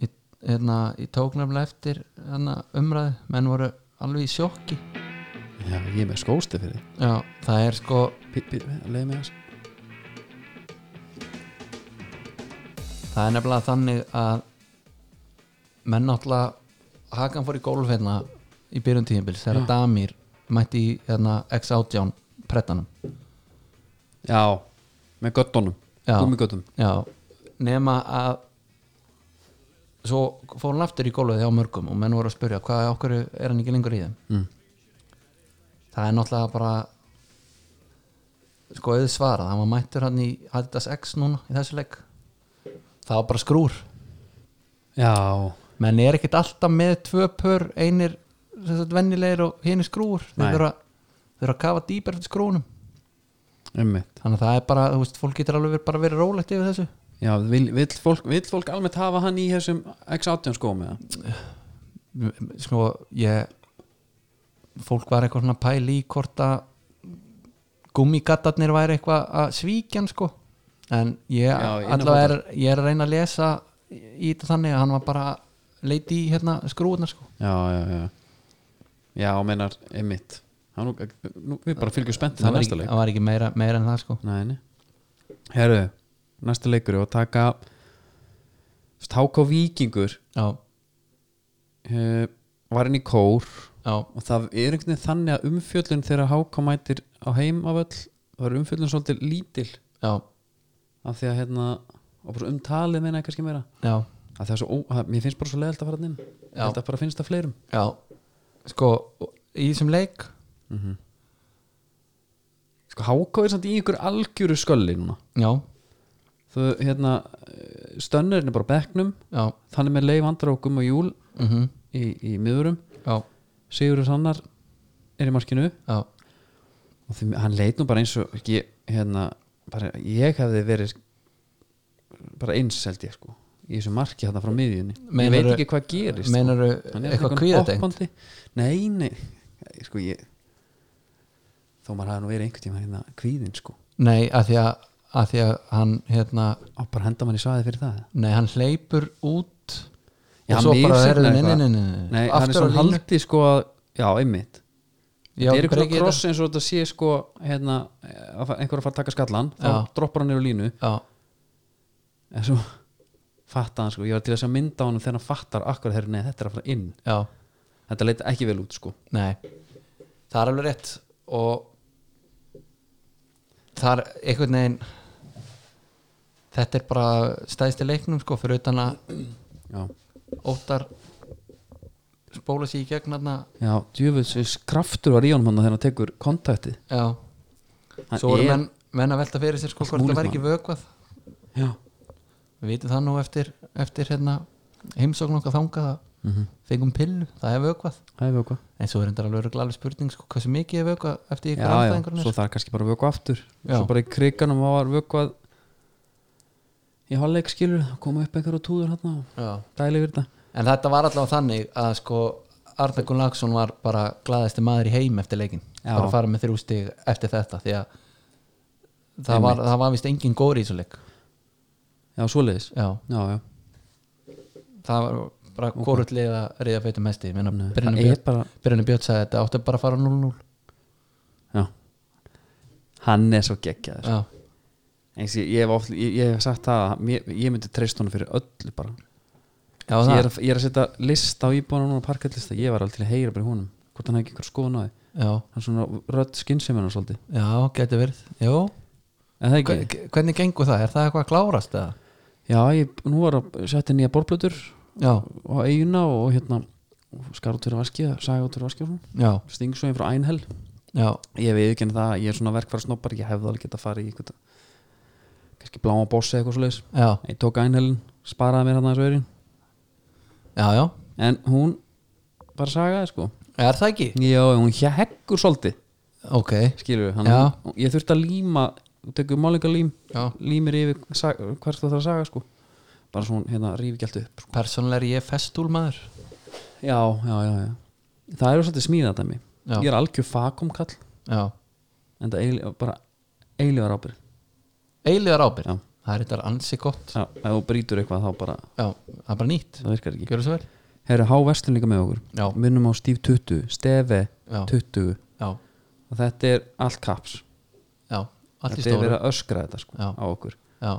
ég, hérna, ég tók nefnilega eftir hérna, umræðu, menn voru alveg í sjokki Já, ég er með skósti fyrir því já, það er sko Bí- bí- Leið með þess það er nefnilega þannig að menn náttúrulega Hakan fór í golf hérna í byrjun tíðinbils þegar Damir mætti í hérna, X-18 prettanum Já, með göttunum Já. Gúmigöttum Já, nema að svo fór hann aftur í gólfið hjá mörgum og menn voru að spyrja hvað okkur er hann ekki lengur í þeim mm. það er náttúrulega bara sko auðvitað svarað hann var mættur hann í Adidas X núna í þessu leik það var bara skrúr Já, menn er ekkit alltaf með tvö pör einir sem sagt, vennilegir og hinn skrúr þau Nei. þurfa þau þurfa að kafa dýpar eftir skrúnum ummitt þannig að það er bara, þú veist, fólk getur alveg verið- bara verið rólegt yfir þessu Já, vill, vill, fólk, vill fólk almennt hafa hann í þessum X-18 skóm eða? sko ég fólk var eitthvað svona pæli í hvort að gummigattarnir væri eitthvað að svíkjan sko en ég Já, allavega er, ég er að reyna að lesa í þetta þannig að hann var bara leiti í hérna skrúðnar sko Já, já, já Já, meinar, ummitt nú, nú, Við bara fylgjum spennt það það var næsta ekki, leik það var ekki meira, meira en það sko Nei, nei Herru, næsta leikur er að taka Stáka Víkingur já, uh, var inn í kór já, og það er einhvern veginn þannig að umfjöllun þegar háká mætir á heimavöll það er umfjöllun svolítið lítil já, af því að hérna og bara um talið meina ég kannski meira já, af því að það er svo, ó, að, mér finnst bara svo leiðalt að fara þarna inn Já. ég held að bara finnst það fleirum já sko í þessum leik sko háká er samt í ykkur algjöru skölli núna já, þau hérna eh, stönnurinn er bara á bekknum já, þannig með leif andra og gumma júl mhm í, í miðurum já, Sigurður Sannar er í markinu já, og því, hann leit nú bara eins og ég, hérna, bara, ég hefði verið bara eins held ég sko í þessu marki þarna frá miðjunni ég Meinarðu- veit ekki hvað gerist meinar sko. Hann er eitthvað einhvern kvíðatengt hoppandi. nei, nei, sko ég þó maður hafði nú verið einhvern tíma hérna kvíðin sko Nei, að því að, að, því að hann, hérna, á bara henda mann í svaði fyrir það nei, hann hleypur út Já, og svo hann bara misreiknar herðu nei, nei, eitthvað. nei, nei, nei, hann er svona haldi sko að, já, einmitt Já, þetta er einhverja breykið þetta. kross eins og þetta sé sko hérna, að fa- einhver að fara að taka skallan þá Já. droppar hann niður á línu Já, en svo fatta hann sko, ég var til að sjá mynda á hann þegar hann fattar akkur þegar neð þetta er að fara inn já, þetta leit ekki vel út sko nei Það er alveg rétt og það er einhvern veginn þetta er bara stæðst í leiknum sko fyrir utan að já, óttar spóla sér í gegn hérna já djöfusvis kraftur var í honum hann þegar hann tekur kontaktið Já, hann svo voru er, menn, menn að velta fyrir sér sko hvort það Múlismann. var ekki vökvað já, við vitum það nú eftir, eftir hérna, heimsókn okkar þangað að Mhm. fengum pillu, það er vökvað það er vöku en svo er þetta alveg örugglega alveg spurning sko, hversu mikið er vökvað eftir já, ykkur já, anstæðingur svo það er kannski bara vöku aftur Já. svo bara í kriganum var vöku að í hálfleik skilur það koma upp einhverja túður hann og dæli yfir þetta en þetta var allavega þannig að sko Arna Gunnlaugsson var bara glæðasti maður í heim eftir leikin Já. bara að fara með þrjú stig eftir þetta því að það Einmitt. var, það var vist engin góri í þessu leik já, svoleiðis, já, já, já það var bara góruðlið að reyða feitum hesti það er bara, Brynni Björn sagði þetta átti bara að fara 0-0 hann er svo geggjaður já, eins og ég, ég, hef oft, ég, ég hef sagt það að mér, ég myndi treyst honum fyrir öllu bara já ég það er, að- ég er að setja list á íbúðan og parketlista, ég var alveg til að heyra bara í honum hvort hann hefði einhver skoðun á því já, hann er svona rödd skynseminan svolítið já, getur verið Jú, en það Hver- ekki, hvernig gengur það? Er það eitthvað að klárast eða? já, ég, nú var að setja nýja borblötur Já, á eiguna og hérna skar út fyrir vaskið, saga út fyrir vaskið og svona. já, sting svo einn frá Einhell já ég veit ekki en það, ég er svona verkfæra snobbar ég hefði alveg getað farið í eitthvað kannski bláma bossi eitthvað svoleiðis Já, ég tók Einhellin, sparaði mér hann aðeins verin já, já, en hún bara sagaði sko er það ekki? já, hún heggur svolítið Ok, skilur við, Já. ég þurfti að líma tekur málinga lím, já límir yfir sag, hvert það þarf að saga sko bara svona, hérna, rífi ekki allt upp sko. Persónulega er ég festúlmaður já, já, já, já það eru svolítið smíðað dæmi Já. ég er algjör fakumkall Já, en það eil, bara eilíðar ábyrð eiligar ábyrg Já. Það er þetta ansi gott já, ef þú brýtur eitthvað þá bara, Já, það er bara nýtt það virkar ekki Gjörðu svo vel Herru, há verslun líka með okkur Já, minnum á Steve 20, Stefe já, 20 já, og þetta er allt kaps já Allir þetta er verið stóru að öskra þetta sko, Já. á okkur Já,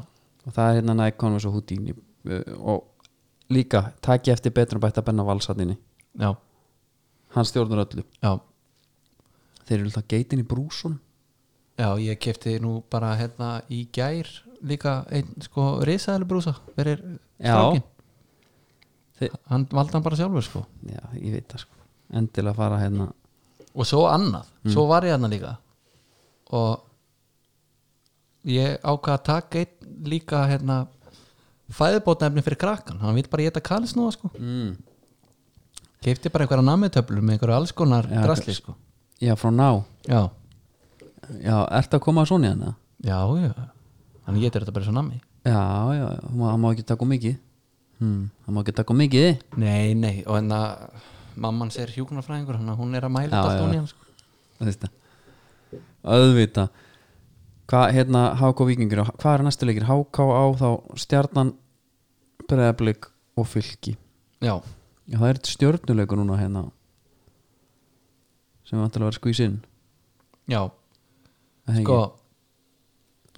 og það er hérna Nike Converse og Houdini uh, og líka taki eftir betur og bæta benna valsatninni já, hann stjórnar öllu já þeir eru alltaf geitin í brúsun Já, ég kefti nú bara hérna í gær líka einn sko risaðalbrúsa fyrir Já. strákin Þi- Hann valdi hann bara sjálfur sko já, ég veit það sko endilega fara hérna og svo annað, svo var ég annað líka og ég ákvað að taka einn líka hérna fæðubótnefni fyrir krakkan, hann vil bara geta kalsnúða sko, mm. keipti bara einhverja namitöflur með einhverju alls konar Já, drasli sko já, frá ná já, já, ertu að koma að svona hérna já, já hann getur þetta bara svo nami já, já, já, hún má- hann má ekki taka of mikið hmm, hann má ekki taka of mikið nei, nei, og en að mamman sér hjúknarfræðingur, hann hún er að mæla Já, þetta allt já. hún í hann sko þú veist það auðvita hvað, hérna, HK Víkingur hvað er næstu leikir, HK á þá stjarnan breðablik og fylki já, Já, það er eitt stjörnuleikur núna hérna sem vantilega að vera skvís inn já, Er það sko ekki?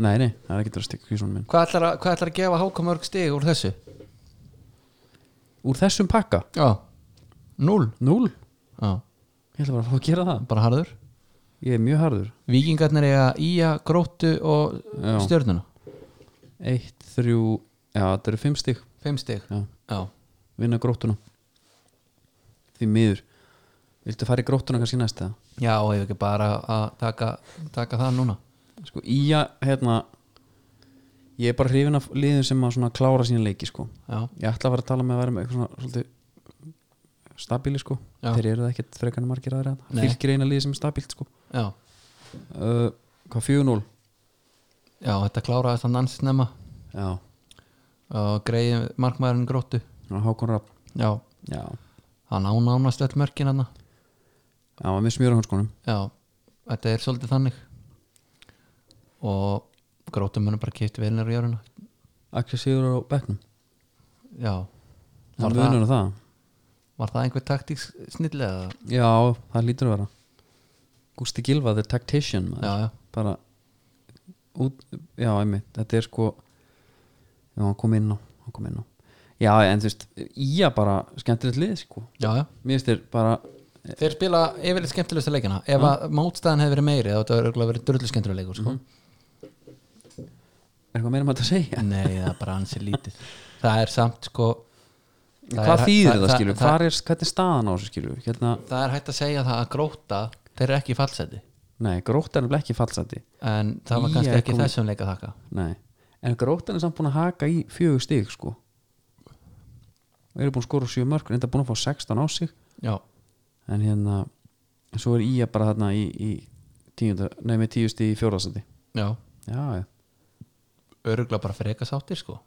Nei, nei, það er ekki að stikka skvísunum minn hvað ætlar, að, hvað ætlar að gefa hákamörg stig úr þessu? Úr þessum pakka, já, núl núl já, Ég ætla bara að fá að gera það bara harður Ég er mjög harður Víkingarnir eiga Ía, Gróttu og Já. Stjörnuna Eitt, þrjú, já þetta eru fimm stig Fimm stig Já, Já, vinna gróttuna Því miður Viltu fara í gróttuna kannski næst eða? Já og ef ekki bara að taka, taka það núna Sko, íja, hérna Ég er bara hrifin af liðum sem að svona klára sína leiki sko Já, Ég ætla að fara að tala með að vera með eitthvað svona svolítið stabíli sko Já. þeir eru það ekkert frekarna margir aðra Nei. fylgir eina liði sem er stabílt sko já, uh, hvað 4-0 já þetta kláraðist hann ansins nema já, og greiði markmaðurinn Gróttu og Hákon Rapp Já, já, hann ánánast öll mörkin hann já, hann var með smjöra hans konum Já, þetta er svolítið þannig og Gróttu munum bara kipti velinir í jöruna Axel Sigur á bekknum Já, var hann það, munur á það, var það einhver taktíks snillega? já, það lítur að vera Gusti Gilva, the tactician maður. Já, já, bara út, já, einmitt, þetta er sko já, hann kom inn á hann kom inn á já, en þú veist, ég bara skemmtilegt lið sko, já, já mér finnst þér bara Þeir spila yfirleitt skemmtilegsta leikina ef að mótstæðan hefði verið meiri þá þetta hefur örugglega verið drullu skemmtilega leikur sko. er eitthvað meira maður að segja Nei, það er bara ansið lítið Það er samt sko það hvað er- þýðir það, skilur, það, hvað er, hvernig er staðan á þessu skilur hérna, það er hægt að segja það að gróta þeir eru ekki í fallseti nei, gróttan er nefnilega ekki fallsandi en það var Í kannski er ekki komið- þessum leik að þakka nei, en gróttan er samt búin að haka í fjögur stig sko og eru búin að skora sjö mörg reynda búin að fá 16 á sig Já, en hérna, en svo er ía bara þarna í, í tíunda, nei með tíu stig í fjórðarsandi já, já, já, örugla bara fyrir eitthvað sáttir sko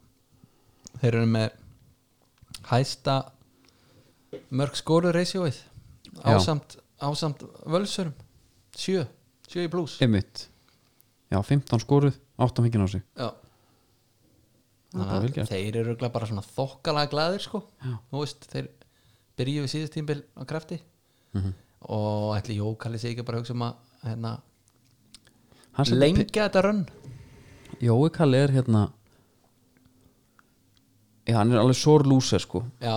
Þeir eru með hæsta mörg skóru reisjóið Já. ásamt, ásamt völsurum sjö, sjö í pluss einmitt já, 15 skoruð, 8 fengið á sig Já Það er bara vel Þannig gert. að þeir eru örugglega bara svona þokkalega glæðir sko Já. Þú veist, þeir byrjuðu við síðust tímbil á Mhm. krafti og ætli Jó kalli sig ekki bara að hugsa um að hérna, Hann setur lengja þetta rönn pi- Jói Kalli er hérna Já, hann er alveg sór lúser sko já,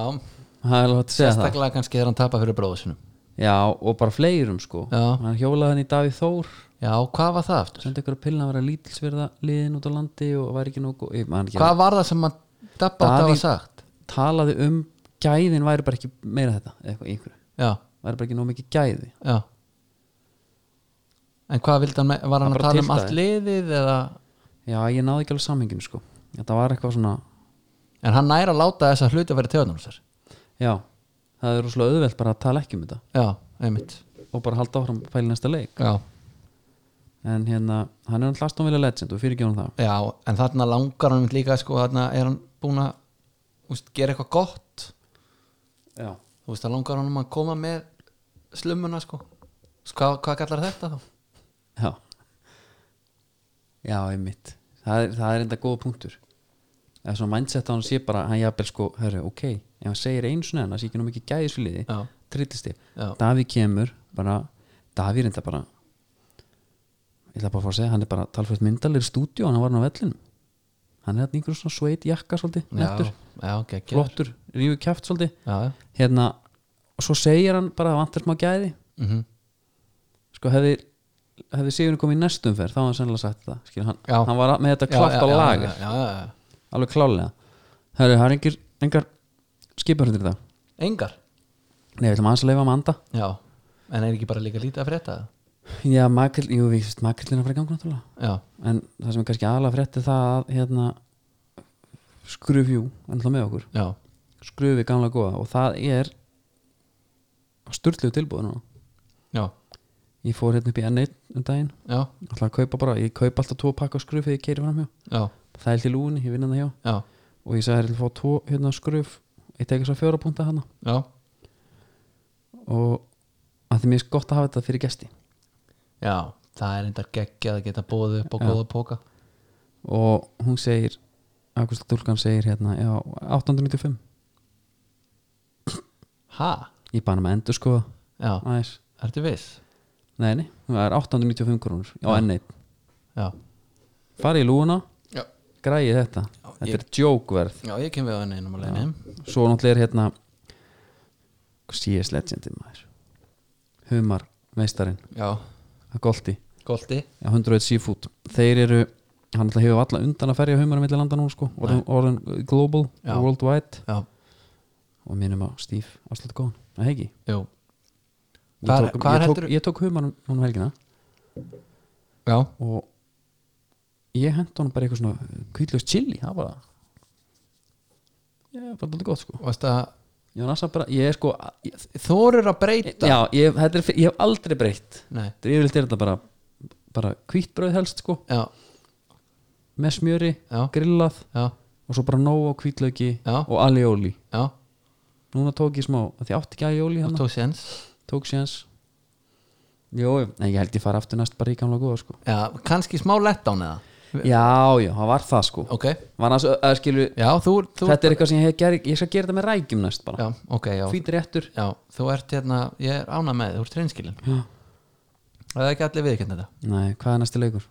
Það er alveg hægt að segja það sérstaklega kannski þegar hann tapar fyrir bróðu sinum Já, og bara fleirum sko Já. Hann hjólaði hann í Davíð Þór já, hvað var það aftur? Sendi ykkur að pilna að vera lítilsverða liðin út á landi og væri ekki nógu Ég man ekki hvað var það sem að dabba átt að Davíð- hafa sagt? Talaði um gæðin væri bara ekki meira þetta eða eitthvað í einhverju já, Væri bara ekki nógu mikið gæði já en hvað vildi hann, með- var Hann hann að bara tala um tiltaði. allt liðið eða Já, ég náði ekki alveg samhenginu sko Þetta var eitthvað svona en hann næra að láta þessa hluti að vera tegunum sér Já, það er rosalega auðvelt bara að tala ekki um þetta já, einmitt og bara halda áfram að pæla í næsta leik já, en hérna, hann er alltaf Astonvilla legend og fyrirgefum það já en þarna langar hann einmitt líka sko, þarna er hann búin að úst, gera eitthvað gott Já, þú veist, það langar hann um að koma með slumuna sko Þú veist, hvað, hvað kallar þetta þá? já Já, einmitt Það er, það er enda góða punktur eða svona mindset að hann sé bara hann jafnvel sko, hörru, ok, ef hann segir einu svona en það sé ekki nú mikið gæðisfiliði já, trillist ég, já, Davíð kemur bara, Davíð er enda bara ég ætla bara að fá að segja hann er bara talfært myndalir stúdíu hann var hann á vellinum hann er hann einhver svona sveit jakka svolítið, nettur, já, geggjör flottur rífur kjaft svolítið já, já, hérna, og svo segir hann bara að vantar smá gæði mhm sko hefði hefði Sigurinn komið í næstum ferð þá hefði hann sennilega sagt það Skil, hann, Já. hann var með þetta Já, klárt á já, já, lager já, já, já, já. alveg klálega Hörru, það er engir, engar skipurhundir í dag engar nei, við ætlum aðeins að leifa um að anda já. en er ekki bara líka lítið að frétta það? já, makil, jú, við veist, makillina fyrir gangi náttúrulega já, en það sem er kannski aðalega frétti það að hérna skrufjú, ennþá með okkur já, skrufi gamla góða og það er sturtlu tilbúð núna já, ég fór hérna upp í N1 um daginn já alltaf að kaupa bara, ég kaupa alltaf tvo pakka skrufið ég keiri framhjá, já, það er til lúni, ég vinn hann hjá já, og ég sagði þér til að fá tvo hérna skruf ég teki svo fjóra púnta hana já og að því mér er gott að hafa þetta fyrir gesti já, það er endar geggjað að geta bóðið upp á Já. góða póka og hún segir Augusta Dúlkan segir hérna já, 895, ha, ég bæði með endur skoða já, aðeins, ertu viss? nei, nei, það er 895 krónur á Já. N1, já, farið í lúna já, græði þetta, Já, þetta ég- er djókverð já ég kem við á henni einum að leiðinni svo náttúrulega er hérna CS Legendin maður humar meistarinn já, að golti goldi Já, 101 Seafood Þeir eru, hann alltaf hefur alla undan að ferja humar milli landa núna sko, orðin, orðin global, Já. worldwide já, og minnum á Steve Aslut Góðan, það hegi jú ég, Hvar- tók- ég, hvar tók, heldurðu- ég tók humar núna um helgina já, og ég hent honum bara eitthvað svona kvítlaust chili, það bara ég var alltaf gott sko varst að ég var næsta bara, ég er sko ég, þorur að breyta já, ég, þetta er, ég hef aldrei breytt nei, þetta er yfirleitt er þetta bara bara kvítbröð helst sko, já, með smjöri Já. grillað já, og svo bara nóg á kvítlauki Já. og aljóli já núna tók ég smá, af því ég átti ekki aljóli þú hann, tók, tók séns tók séns Jó, en ég held ég fara aftur næst bara í gamla góða sko já, kannski smá lett án eða Já, já, það var það sko ok, var hans, að, skilu, já, þú, þú Þetta er eitthvað sem ég hef gerð ég skal gera þetta með rækjum næst bara já, ok, já, Fýt réttur Já, þú ert hérna, ég er ána með þig, þú ert reynskilin Já. Það er ekki allir viðkjönd þetta Nei, hvað er næsti leikur?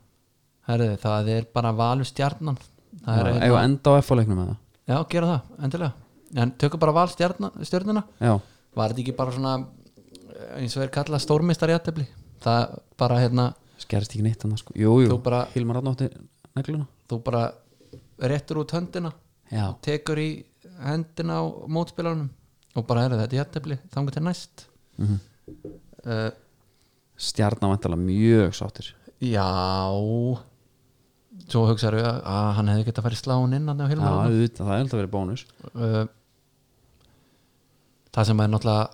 Herðu, það er bara valur stjarnan Það Já, er hérna- eigum við að enda á F-leiknum eða? Já, gera það, endilega En tökum bara val stjarnan- stjörnuna Já, Var þetta ekki bara svona eh, eins og er kallað stórmistar í aðtefli Það bara hérna, skerist ekki neitt annars sko Jú, jú, Þú bara- Hilmar Ráttnótti negluna þú bara réttur út höndina Já, tekur í hendina á mótspilanum og bara herðu þetta í aðtefli þangur til næst mm -hmm. uh, stjarnavæntalega mjög sáttir Já Svo hugsaðu að, að hann hefði getað farið sláin inn hann á Já, Hilmar Árna. auðvitað, það er alltaf verið bónus uh, Það sem er náttúrulega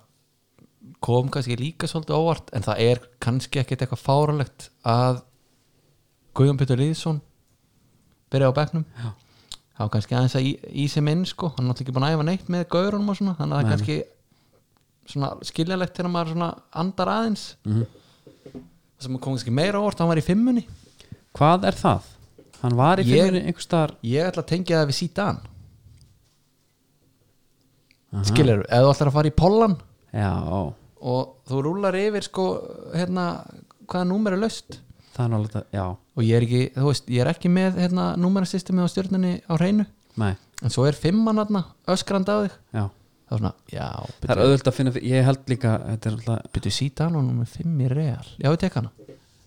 kom kannski líka svolítið óvart en það er kannski ekkit eitthvað fáralegt að Guðjón Pétur Lýðsson byrja á bekknum Já. það var kannski aðeins að í, í sem inn sko, hann er náttúrulega ekki búin að æfa neitt með gaurunum og svona, þannig að það Nei, er kannski svona skiljalegt þegar maður svona andar aðeins mm það sem kom kannski meira óvart, hann var í fimmunni Hvað er það? Hann var í Ég- fyrir einhvers staðar ég ætla að tengja það við sítan skilur, ef þú ætlar að fara í pollan Já, ó. og þú rúlar yfir sko, hérna, hvaða númer er löst það er nálega þetta, já, og ég er ekki, þú veist, ég er ekki með hérna, númerasystemið á stjörnunni á hreinu nei, en svo er fimmann hérna, öskrandi á já þig þá er svona, já, Það er byrju, auðvöld að finna, fyrir- ég held líka þetta er alltaf, byrju sítan og nummer 5 í real já, við tek hana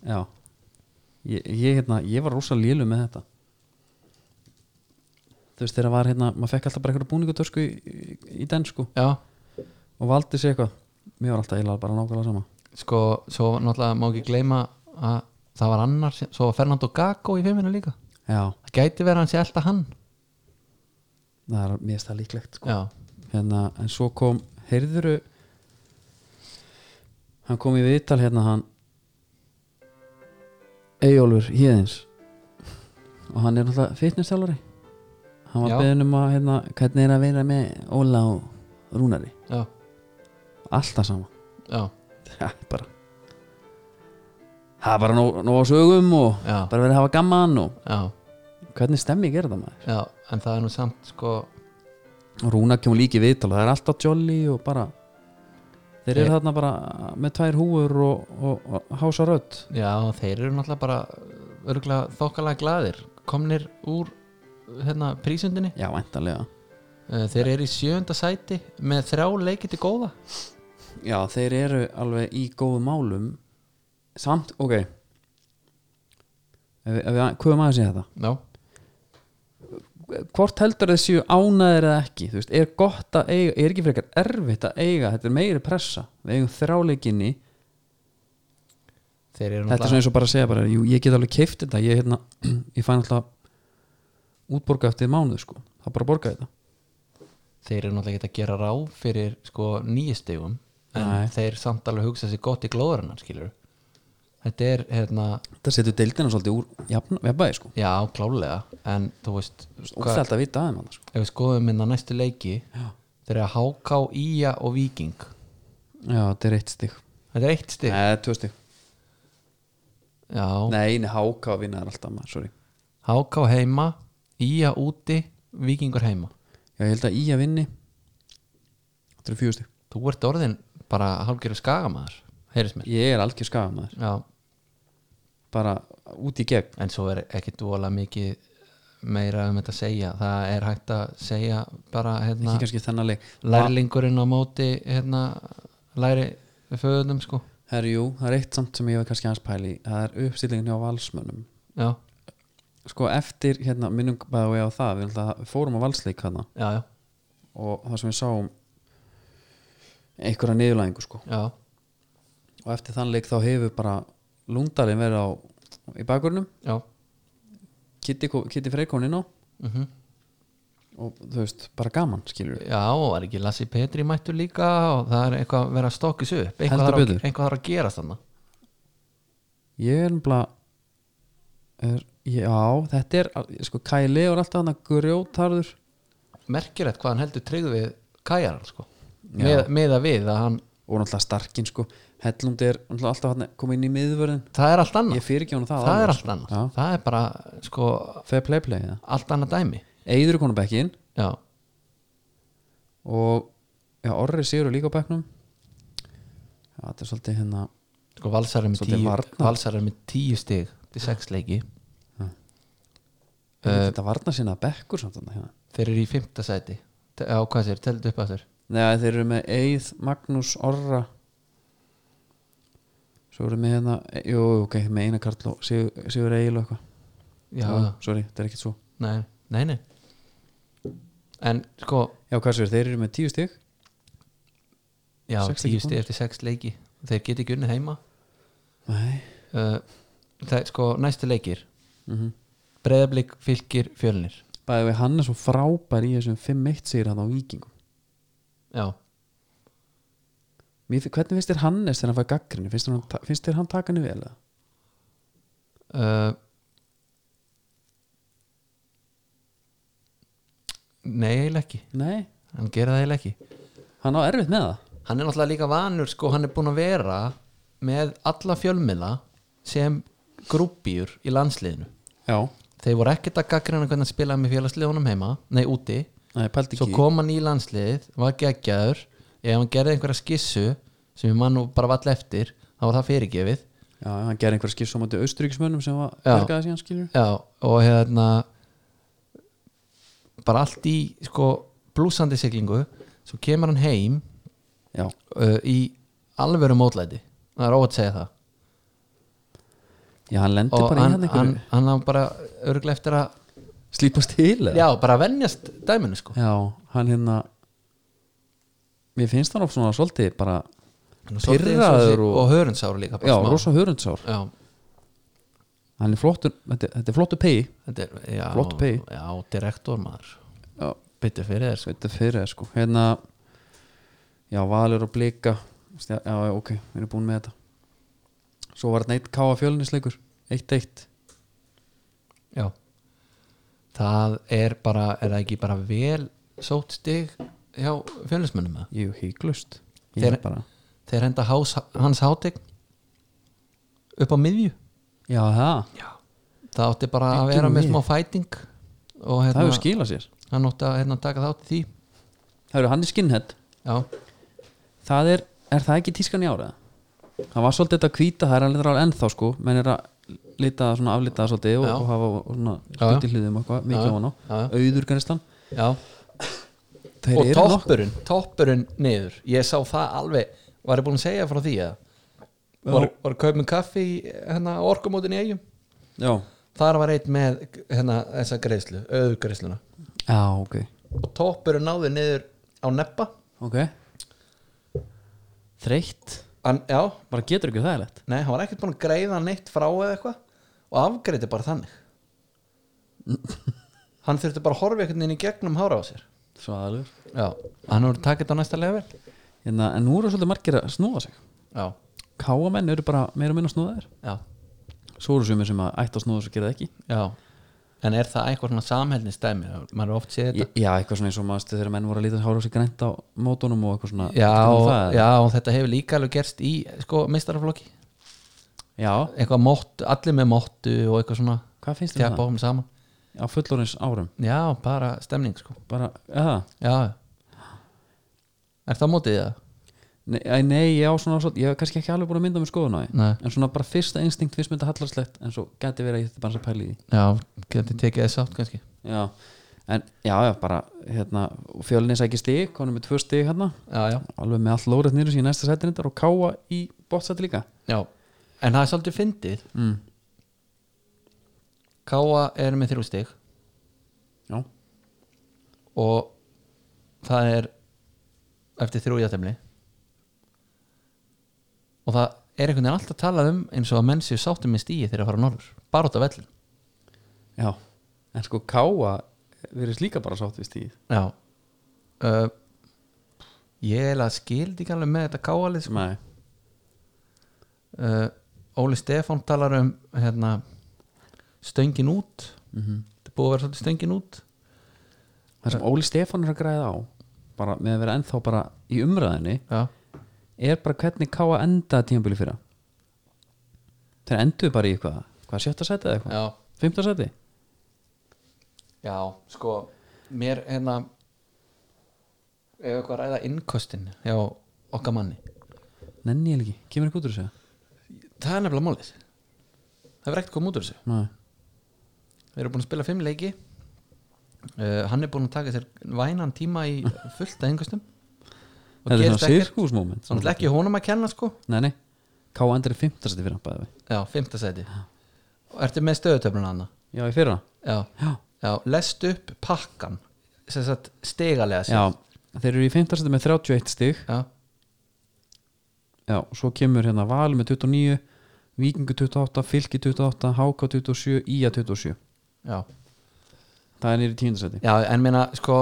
já ég, ég, hérna, ég var rosa lélu með þetta þú veist þegar var hérna, maður fekk alltaf bara eitthvað búningutösku í, í, í densku já, og valdi sér eitthvað mér var alltaf eiginlega bara nákvæmlega sama sko, svo náttúrulega má ekki gleyma að það var annar, sem- svo var Fernando Gago í fimminu líka já, það gæti verið að hann sé alltaf hann það er mér stað líklegt sko. já, hérna, en svo kom, heyrðuru hann kom í viðtal hérna hann Eyjólfur Híðins og hann er náttúrulega fitnesstjálfari hann var Já. beðin um að hérna, hvernig er að vera með Óla og Rúnari já, alltaf sama já, það er bara það er bara nóg, nóg á sögum og já, bara verið að hafa gaman og já, hvernig stemmi gerir það maður já en það er nú samt sko, og Rúnar kemur líki viðtal það er alltaf jolly og bara þeir eru Þeir- þarna bara með tvær húur og, og, og hása rödd já, þeir eru náttúrulega bara örgulega þokkalega glaðir komnir úr hérna prísundinni já, endalega Eh, þeir eru í sjönda sæti með þrjá leiki til góða já, þeir eru alveg í góðum málum samt, ok ef, við- ef við kvöðum aðeins í þetta já, Eh, hvort heldur þeir séu ánæðir eða ekki þú veist, er gott að eiga, er ekki frekar erfitt að eiga, þetta er meiri pressa við eigum þráleikinni þeir eru þetta er svona náttúrulega eins og bara að segja bara, jú, ég get alveg keift þetta ég, hérna, ég fæ náttúrulega útborga eftir mánuð sko, það er bara að borga þetta þeir eru náttúrulega ekki að gera ráð fyrir sko nýju stegum en Nei. þeir samt alveg hugsa sér gott í glóðurinnar skilur þetta er hérna, það setur deildina svolítið úr jafn, jafnvægi sko, já klálega en þú veist, hvað, óþælt að vita aðeim annars sko. ef við skoðum minna næstu leiki já. þeir eru að háká, íja og viking já, þetta er eitt stig þetta er eitt steg neða, tvö stig, já, nei, nei, háka vinnar alltaf maður, sorry, háká heima íja úti, vikingur heima já, ég held að í að vinni þetta er fjögur stig þú ert orðin bara hálfgerðu skagamæður heyrðis mér, ég er algjör skafa maður, já bara út í gegn en svo er ekki dvola mikið meira um þetta að segja það er hægt að segja bara hérna, ekki kannski þennan leik lærlingurinn á móti hérna, læri föðunum sko herri, jú, það er eitt samt sem ég var kannski aðeins pæli það er uppstillingin hjá valsmönnum já, sko eftir hérna minnum bæði við á það við náttúrulega fórum á valsleik hana já, já, og það sem við sáum einhverja niðurlæðingu sko já, og eftir þann leik þá hefur bara lúndalinn verið á í bakgrunnum já. Kitty, ko- Kitty Freyr kom inn á Mm og þú veist bara gaman skilur já, og er ekki Lassi Petri mættur líka og það er eitthvað að vera að stokkis upp Heldur eitthvað þarf að, betur. eitthvað þarf að gera stanna ég er nefnilega er, já þetta er al- sko Kæli og alltaf hann að grjótarður merkilegt hvað hann heldur tryggð við kæjar sko, Já. með, með að við að hann, og náttúrulega starkin sko Hellund er náttúrulega alltaf hann kom inn í miðvörðin það er allt annað ég fyrir ekki hann það alveg, það, sko. er allt annað, Já. það er bara sko, fair play play það allt annað dæmi Eiður er konum bekkin já, og já, Orri Sigur er líka á bekknum já, þetta er svolítið hérna Sko Valsar er með Svolítið tíu, varnar. Valsar er með tíu stig til sex leiki uh, þetta varna sinna bekkur samt þarna hérna Þeir eru í fimmta sæti Te- Já, hvað sér, teldu upp að þér Nei, þeir eru með Eið, Magnús, Orra Svo eru með hérna Jú, ok, með Einar Karl og Sigur, Sigur Egil og eitthvað Já, Jú, Sorry, þetta er ekkert svo nei, nei, nei En sko, Já, hvað sér, þeir eru með tíu stig já, Sex leiki tíu stig til sex leiki Þeir geti ekki unni heima Nei uh, Það er sko, næstu leikir mm Breiðablík, fylgir, fjölnir Bæði við hann er svo frábær í þessum 5-1 sigir hann á Víkingum Já, Mér, fi- Hvernig finnst þér Hannes þegar hann fæði gaggrinni? Finnst, þér hann ta- finnst þér hann taka henni vel? eða? uh, Nei, eiginlega ekki Nei, Hann gera það eiginlega ekki hann á erfitt með það hann er náttúrulega líka vanur sko, hann er búinn að vera með alla fjölmiðla sem grúppýr í landsliðinu Já, þeir voru ekkert að gaggrina hvernig hann spilaði með félagsliðunum heima nei úti, Nei, pældi svo ekki í- kom hann í landsliðið var geggjaður, ef hann gerði einhverja skissu sem ég mann nú bara vall eftir þá var það fyrirgefið já, hann gerði einhverja skýr svo mæti austuríkismönnum sem var Já. bergaði síðan skilur Já, og hérna bara allt í sko blúsandi siglingu svo kemur hann heim já, uh, í alveru mótlæti það er óvægt að segja það já, hann lendi og bara í hérna, hann, hann hann, einhverju hann á bara örglega eftir að slípast til eða? já, bara að venjast dæminu sko já, hann hérna mér finnst hann of svona svolítið bara, Hann er svolítið eins Pirraður og, og- og hörundsáru líka bara já, smá. rosa hörundsár já, hann er flottur, þetta, þetta er flottur pegi þetta er já, Flott pey. já, direktor maður Já. byttu fyrir þér sko. þetta fyrir þér sko hérna, já, Valur og Blika já, já, ok, við erum búin með þetta svo var þetta neitt káa fjölunisleikur 1-1 já það er bara, er það ekki bara vel sótt stig hjá fjölusmönnum það jú, híklust Þeir- ég er bara, þeir henda hás, hans hátig upp á miðju já, það já. það átti bara að Bíddu vera nú með við. smá fæting og það hérna, hefur skilað sér hann átti að hérna, taka þátt í því það eru hann er skinhead já, það er, er það ekki tískan í ára það var svolítið þetta að hvíta, það er alveg ráð ennþá sko, menn er að lita svona aflita það svolítið og, Já. og hafa og svona Já, já. stutti hliðum og eitthvað, Já, mikið já. ofan á Já, já. auður gænistan já. og toppurinn toppurinn niður, ég sá það alveg var ég búin að segja frá því að var, var að kaupa með kaffi í, hérna, orkumótin í eigum já, þar var einn með hérna, þessa greiðslu, auðgreiðsluna já, ok og toppurinn náði niður á neppa ok þreytt hann, já, bara getur ekki það leitt nei, hann var ekkert búin að greiða neitt frá eða eitthvað og afgreiti bara þannig hann þurfti bara að horfa einhvern veginn í gegnum hára á sér svaðalur já, hann voru takit á næsta level en, Hérna, en nú eru svolítið margir að snúða sig já, káamenn eru bara meira og minna snúðaðir já, svo eru sumir sem að ætti að snúða sig og gera það ekki já en er það eitthvað svona samhælnistæmi maður er oft séð þetta Ég- já, eitthvað svona eins og maður stuð þegar menn voru að líta hára á sig grænt á mótunum og eitthvað svona já, Ertu með það, eða? já, og þetta hefur líka alveg gerst í sko, mistaraflokki já, eitthvað mótt, allir með móttu og eitthvað svona hvað finnst þér um tjapa á um saman það á fullorins árum já, bara stemning sko bara, eða, já er það mótið það? nei, æ, nei, ég á svona svolítið- ég hef kannski ekki alveg búin að mynda með skoðun á því Nei. en svona bara fyrsta instinkt fyrst mynda hallarslegt en svo geti verið að ég þetta bara að pæli því já, getur tekið þess átt kannski Já, en já, já, bara hérna, fjölinni sækir stig, konum með tvö stig hérna, já, já, alveg með allt lórið nýrjum síðan næsta sætin þetta og káa í bótsæti líka já en það er svolítið fyndið mm. Káa er með þrjú stig Já, og það er eftir þrjú játtemli og það er einhvern veginn alltaf talað um eins og að menn séu sáttum með stíi þegar að fara norður bara út af vellin já, en sko káa verðist líka bara sátt við stíð já uh, ég er að skildi ekki alveg með þetta káalið sko. Nei, uh, Óli Stefán talar um hérna stöngin út mm þetta er búið að vera svolítið stöngin út það sem Óli Stefán er að græða á bara með að vera ennþá bara í umræðinni já, er bara hvernig káa enda tímabili fyrra þeir enduðu bara í eitthvað hvað sjötta sæti eða eitthvað, já, fymta sæti já sko mér hérna ef eitthvað að ræða innkostin hjá okkar manni nenni ég ekki, kemur ekki út úr þessu það er nefnilega málið það er ekkert komið út úr þessu Nei. við erum búin að spila fimm leiki uh, hann er búin að taka sér vænan tíma í fullt að engustum og þetta er gerist svona ekkert sirkusmoment þannig að ekki honum að kenna sko Nei, nei, K.A. endur í 15. fyrir hann bæði við já, fymta seti og ertu með stöðutöfluna hann Já, í fyrra já, Já, já, lest upp pakkan sem sagt stegalega sér já þeir eru í 15. með 31 stig já, Já, og svo kemur hérna Val með 29 Víkingu 28, Fylki 28 HK 27, Ía 27 já. Það er nýri tíundasæti já en meina sko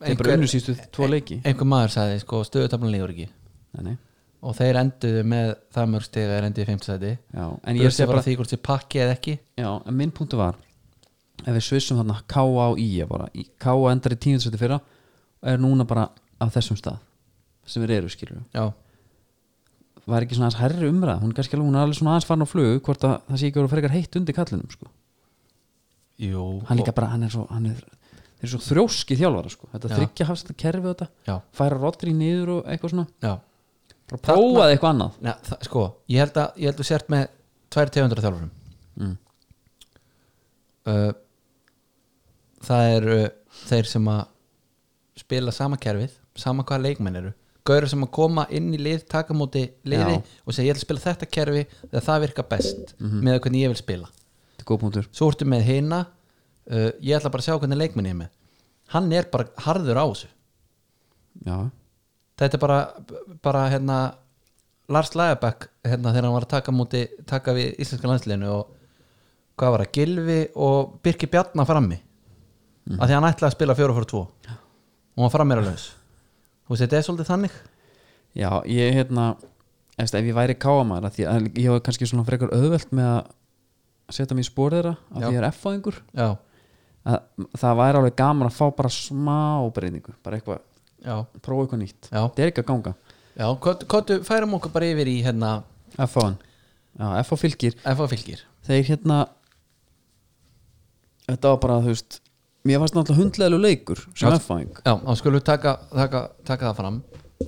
Þeir bara unnu sístu tvo leiki einhver maður sagði sko stöðutöfluna lífur ekki Nei, nei og þeir enduðu með það mörg stega er enduðu í fymta seti Já, en en ég sé bara því hvort þið pakki eða ekki Já, en minn punktu var Ef við svissum þarna K.A. og Ía bara Í- K.A. endar í tíundasæti fyrra og er núna bara af þessum stað sem við eru skilur já, var ekki svona aðeins herri umræð hún er kannski alveg, hún er alveg svona aðeins farin á flug hvort að það sé ekki voru frekar heitt undir kallinum sko. jú hann líka bara, hann er svo hann er, þeir eru svo þrjóski þjálfara sko. þetta Já. þryggja hafst þetta kerfi þetta já, færa Rodri niður og eitthvað svona já bara prófaði eitthvað annað Nei, það, sko, ég held að ég held að sért með tvær tegundur af þjálfurum Mm. uh, það eru þeir sem að spila sama kerfið sama hvaða leikmenn eru gaur sem að koma inn í lið, taka á móti liði Já. og segja ég ætla að spila þetta kerfi þegar það virka best Mhm. með hvernig ég vil spila þetta er góð punktur svo ertu með hina uh, ég ætla bara að sjá hvernig leikmenn ég er með hann er bara harður á þessu já, þetta er bara, bara hérna, Lars Lægabæk hérna, þegar hann var að taka, múti, taka við íslenska landsliðinu og hvað var það, Gilvi og Birki Bjarnar frammi af því hann ætlaði að spila 4-4-2 og hann frammeira laus þú veist, þetta er svolítið þannig já ég hérna eftir, ef ég væri káamæður af því að ég hef kannski svona frekar auðvelt með að setja mig í spór þeirra af því Já. ég er F-fæðingur já, að það væri alveg gaman að fá bara smá breyningu, bara eitthvað já, prófa eitthvað nýtt, Já. þetta er ekki að ganga já kottu, færum okkur bara yfir í hérna F-fáðan, já, F-fá fylgir FA fylgir þeir hérna þetta var bara, þú veist mér fannst náttúrulega hundlegalu leikur sem Já. F-fáðing, já, þá skulum við taka, taka, taka það fram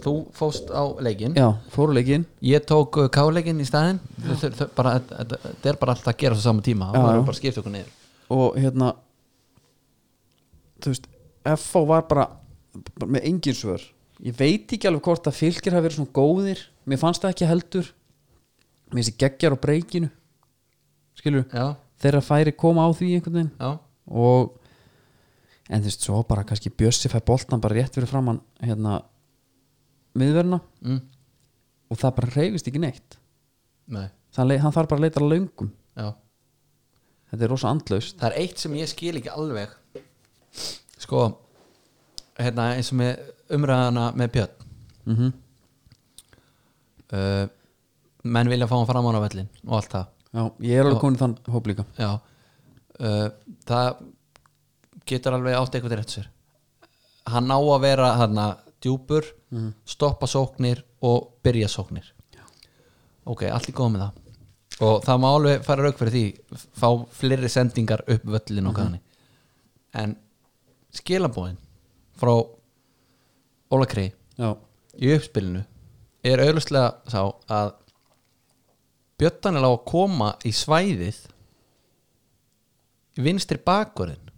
þú fóst á leikin já, fóruleikin Ég tók uh, káleikin í staðinn Þau- þau- þau- bara- Þetta þetta er bara alltaf að gera svo saman tíma Já, Það já. er bara að skipta okkur niður og hérna þú veist, F.O. var bara, bara með engin svör ég veit ekki alveg hvort að fylgir hafi verið svona góðir, mér fannst það ekki heldur mér finnst ég geggjar á breykinu skilur, Já, þeirra færi koma á því einhvern veginn já, og en þú veist, svo bara kannski Bjössi fæ boltan bara rétt fyrir framann hérna miðverna mm, og það bara reyfist ekki neitt nei, Það le- hann þarf bara að leita að löngum já þetta er rosa andlaust Það er eitt sem ég skil ekki alveg Sko Hérna eins og með umræðana með Björn mm uh, Menn vilja fá hann fram á vellin og allt það Já, ég er alveg Já. komin í þann hóp líka Já uh, Það getur alveg átt eitthvað rétt sér Hann á að vera hana, djúpur, stoppa sóknir og byrja sóknir Já. Ok, allt í góð með það og það má alveg fara rauk fyrir því fá fleiri sendingar upp völlin og mm en skilabóðin frá Óla Krei Já, í uppspilinu er auðvitað sá að Björn er á að koma í svæðið í vinstri bakurinn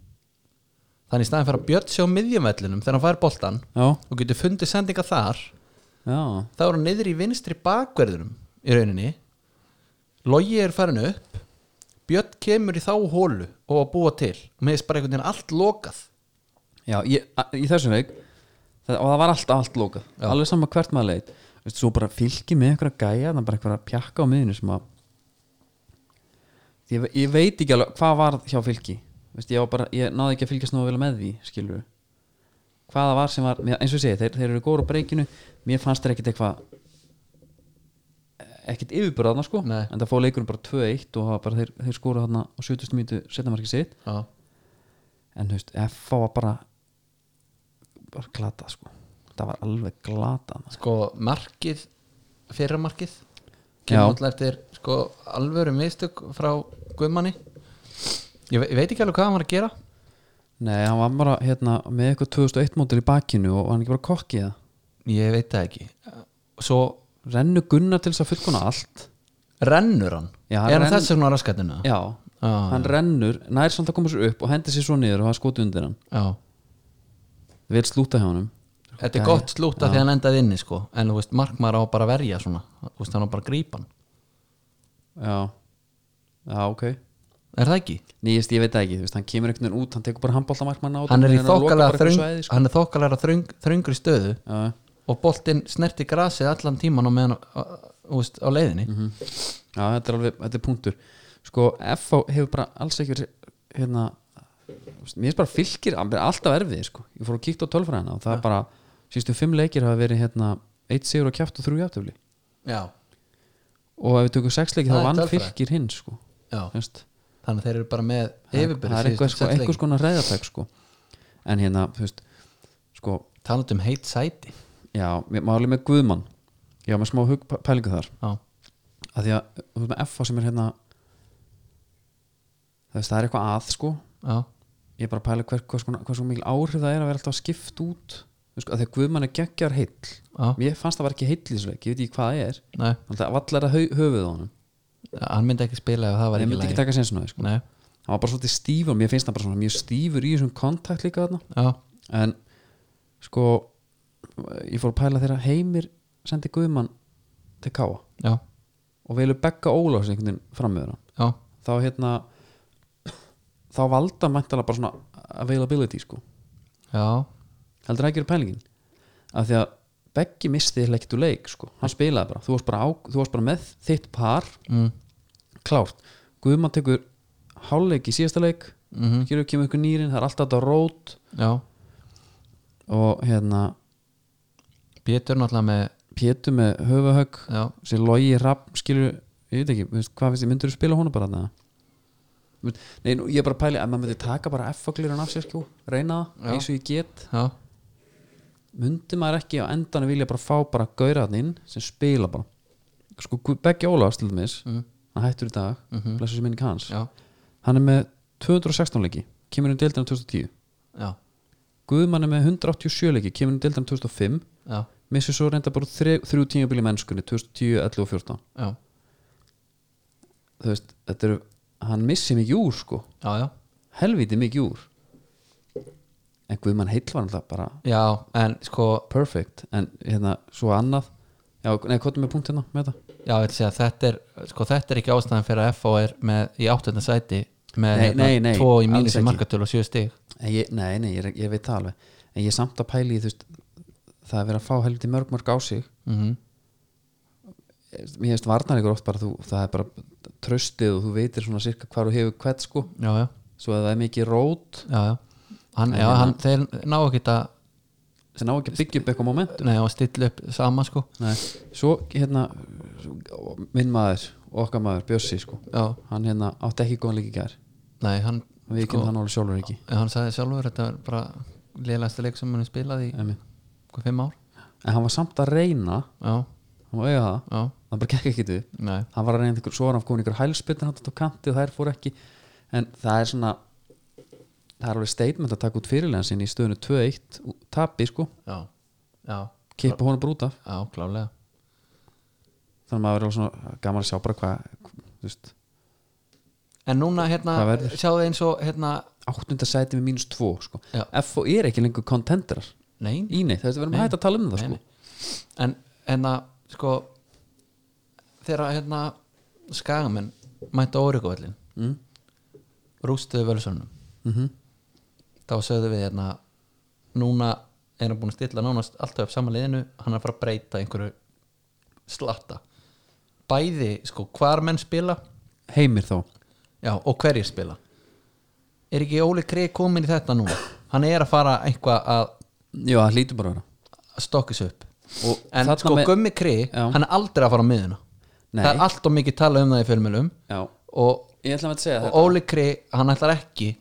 þannig í staðin fyrir að Björn sé á miðjumvellinum þegar hann fær boltan já, og getur fundið sendinga þar já þá er hann niður í vinstri bakverðinum í rauninni Logi er farin upp Björn kemur í þá hólu og að búa til og með þess bara einhvern veginn allt lokað Já, ég, a- í þessum leik það, og það var allt, allt lókað, Já. alveg sama hvert maður leit Veistu, svo bara fylgið með einhverja gæja það er bara einhverja pjakka á miðinu sem að ég, ég veit ekki alveg hvað var hjá fylki Veistu, ég, var bara, ég náði ekki að fylgjast nógu vel með því skilur hvað það var sem var, mér- eins og ég segi, þeir, þeir eru góður á breykinu mér fannst þeir ekkit eitthvað ekkit yfirbörðarna sko Nei. en það fóð leikurinn bara 2-1 og það var bara, þeir, þeir skóru þarna á 70. mítu setnamarki sitt Já. en þú veist, FA var bara bara glata sko það var alveg glata maður. sko markið fyrra markið Já. kemur alltaf eftir sko alvöru mistök frá Guðmanni ég, ve ég veit ekki alveg hvað hann var að gera nei, hann var bara hérna með eitthvað 2001 mótil í bakinu og hann ekki bara kokkið það ég veit það ekki svo rennu Gunnar til þess að fullkona allt rennur hann Já, hann er hann renn- þess vegna á raskatinu já, já, hann rennur, nær samt að koma sér upp og hendi sér svo niður og það skoti undir hann já. vil slúta hjá honum þetta Gæja. er gott slúta þegar hann endaði inni sko en þú veist markmaður á bara að verja svona þú veist hann á bara að grípa hann já, já, ok er það ekki? nýjist, ég veit það ekki, þú veist, hann kemur einhvern veginn út hann tekur bara handbóltamarkmann á hann er í þokkalega þröng, þröng hann er þokkalega þröng, þröngri stöðu já, og boltinn snerti grasið allan tíman á meðan á, á, þú veist, á leiðinni Já, þetta er alveg, þetta er punktur Sko, FH hefur bara alls ekki verið hérna, þú veist, mér finnst bara fylgir hann er alltaf erfið, sko, ég fór að kíkta á tölfræðina og það er bara, sístu fimm leikir hafa verið hérna, eitt sigur og kjátt og þrjú játöfli já, og ef við tökum sex leikir Það þá er vann tölfræði. fylgir hinn, sko já. Þú veist, þannig að þeir eru bara með það, yfirbyrð það er eitthvað, sko, eitthvað skona reyðatæk, sko en hérna, þú veist, sko talandi um heitt sæti já, mér máli með Guðmann já, með smá hugpælingu þar já, að því að, þú veist, með FH sem er hérna þú veist, það er eitthvað að, sko já, ég er bara að pæla hver, hvers, konar- hversu mikil áhrif það er að vera alltaf skipt út Þú veist, að þegar Guðmann er geggjar heill já, mér fannst það var ekki heill í þessu leik, ég veit ekki hvað það er nei þannig að vallar að höfuð á honum hann myndi ekki spila ef það var ég ekki myndi ekki lagi taka sensin á því sko. Nei, hann var bara svolítið stífur, mér finnst hann bara svona mjög stífur í þessum kontakt líka þarna já, en sko ég fór að pæla þegar Heimir sendi Guðmann til Káa já, og velur Begga Ólafs einhvern veginn fram með hann já, þá hérna þá valda mæntalega bara svona availability sko, já heldur það ekki eru pælingin af því að Beggi misti heil ekkert úr leik sko, hann spilaði bara, þú varst bara, á, þú varst bara með þitt par mm, klárt, Guðmann tekur hálfleik í síðasta leik, mm gerur kemur ykkur nýrin það er alltaf þetta rót já og hérna, Pétur náttúrulega með Pétur með höfuhögg já, sér logi rafn skilur ég veit ekki, þú veist, hvað finnst ég myndur spila honum bara þarna Þú veist, nei, nú, ég er bara að pæli að maður myndi taka bara F-faglirun af sér skjú, reyna Já. það eins og ég get, já, myndi maður ekki á endanum vilja bara fá bara gauraðn inn sem spila bara sko, Beggi Ólafs til dæmis mm, hann hættur í dag, mm Mhm. blessu sem minni hans já, hann er með 216 leiki kemur um deildina 2010 já Guðmann er með 187 leiki, kemur um deildina 2005 já, missir svo reynda bara þre- þrjú tímabili mennskunni 2010, 11 og 14 já, þú veist, þetta eru hann missi mikið úr sko, já, já helviti mikið úr en Guðmann heill var alltaf bara já, en sko perfect, en hérna svo annað, já, nei, hvað er með punkt hérna með þetta? já, ég vil segja, þetta er, sko, þetta er ekki ástæðan fyrir að FO er með í áttönda sæti með hérna Nei, nei, nei, tvo í alls mínus í ekki. markatölu og sjö stig En Ég, nei, nei, ég, er- ég veit það alveg en ég er samt að pæli, þú veist það er verið að fá helviti mörg mörg á sig mm mér hefst varnar ykkur oft bara þú, það er bara tröstið og þú veitir svona sirka hvar þú hefur hvert sko, já, já, svo að það er mikið rót já, já hann, En já, hérna- hann, þeir ná ekki að sem ná ekki að byggja upp eitthvað moment nei, og stilla upp saman, sko nei, svo hérna svo- minn maður, okkar maður, Bjössi sko já, hann hérna átti ekki góðan leik í gær nei, hann við Sko- kynum hann alveg sjálfur ekki hann sagði sjálfur, þetta var bara lélægsta leik sem hann hefur spilað í Einmitt. hvað, fimm ár en hann var samt að reyna já, hann var að eiga það, já, það bara gekk ekki við nei, hann var að reyna einhver, svo var hann komin einhver hælspiln hann tók kanti og þær fór ekki en það er svona það er alveg statement að taka út fyrirlega sinni í stöðunu 2-1, og tapi sko já, já kippa honum bara út af, já, klálega þannig að maður er alveg svona gaman að sjá bara hvað, þú veist en núna, hérna, Hvað verður? sjáðu eins og hérna, áttunda sæti með mínus 2 sko Já. FO er ekki lengur kontendrar nein í neitt, það er verið að hætta að tala um það Nei, sko nei. en hérna sko þegar hérna skagamenn mænta óryggovellin mm. rústuðu völsunum Mm þá sögðu við hérna núna erum búin að stilla nánast alltaf upp saman liðinu, hann er að fara að breyta einhverju slatta bæði sko hvar menn spila heimir þá já, og hverjir spila er ekki Óli Krið komin í þetta núna hann er að fara eitthvað að já, það hlýtur bara að vera að stokka sig upp Og en þarna sko með- Gummi Kri, Já. hann er aldrei að fara á miðuna Nei. það er allt og mikið talað um það í fjölmjölum Já, og, ég ætla að segja og þetta Óli Kri, hann ætlar ekki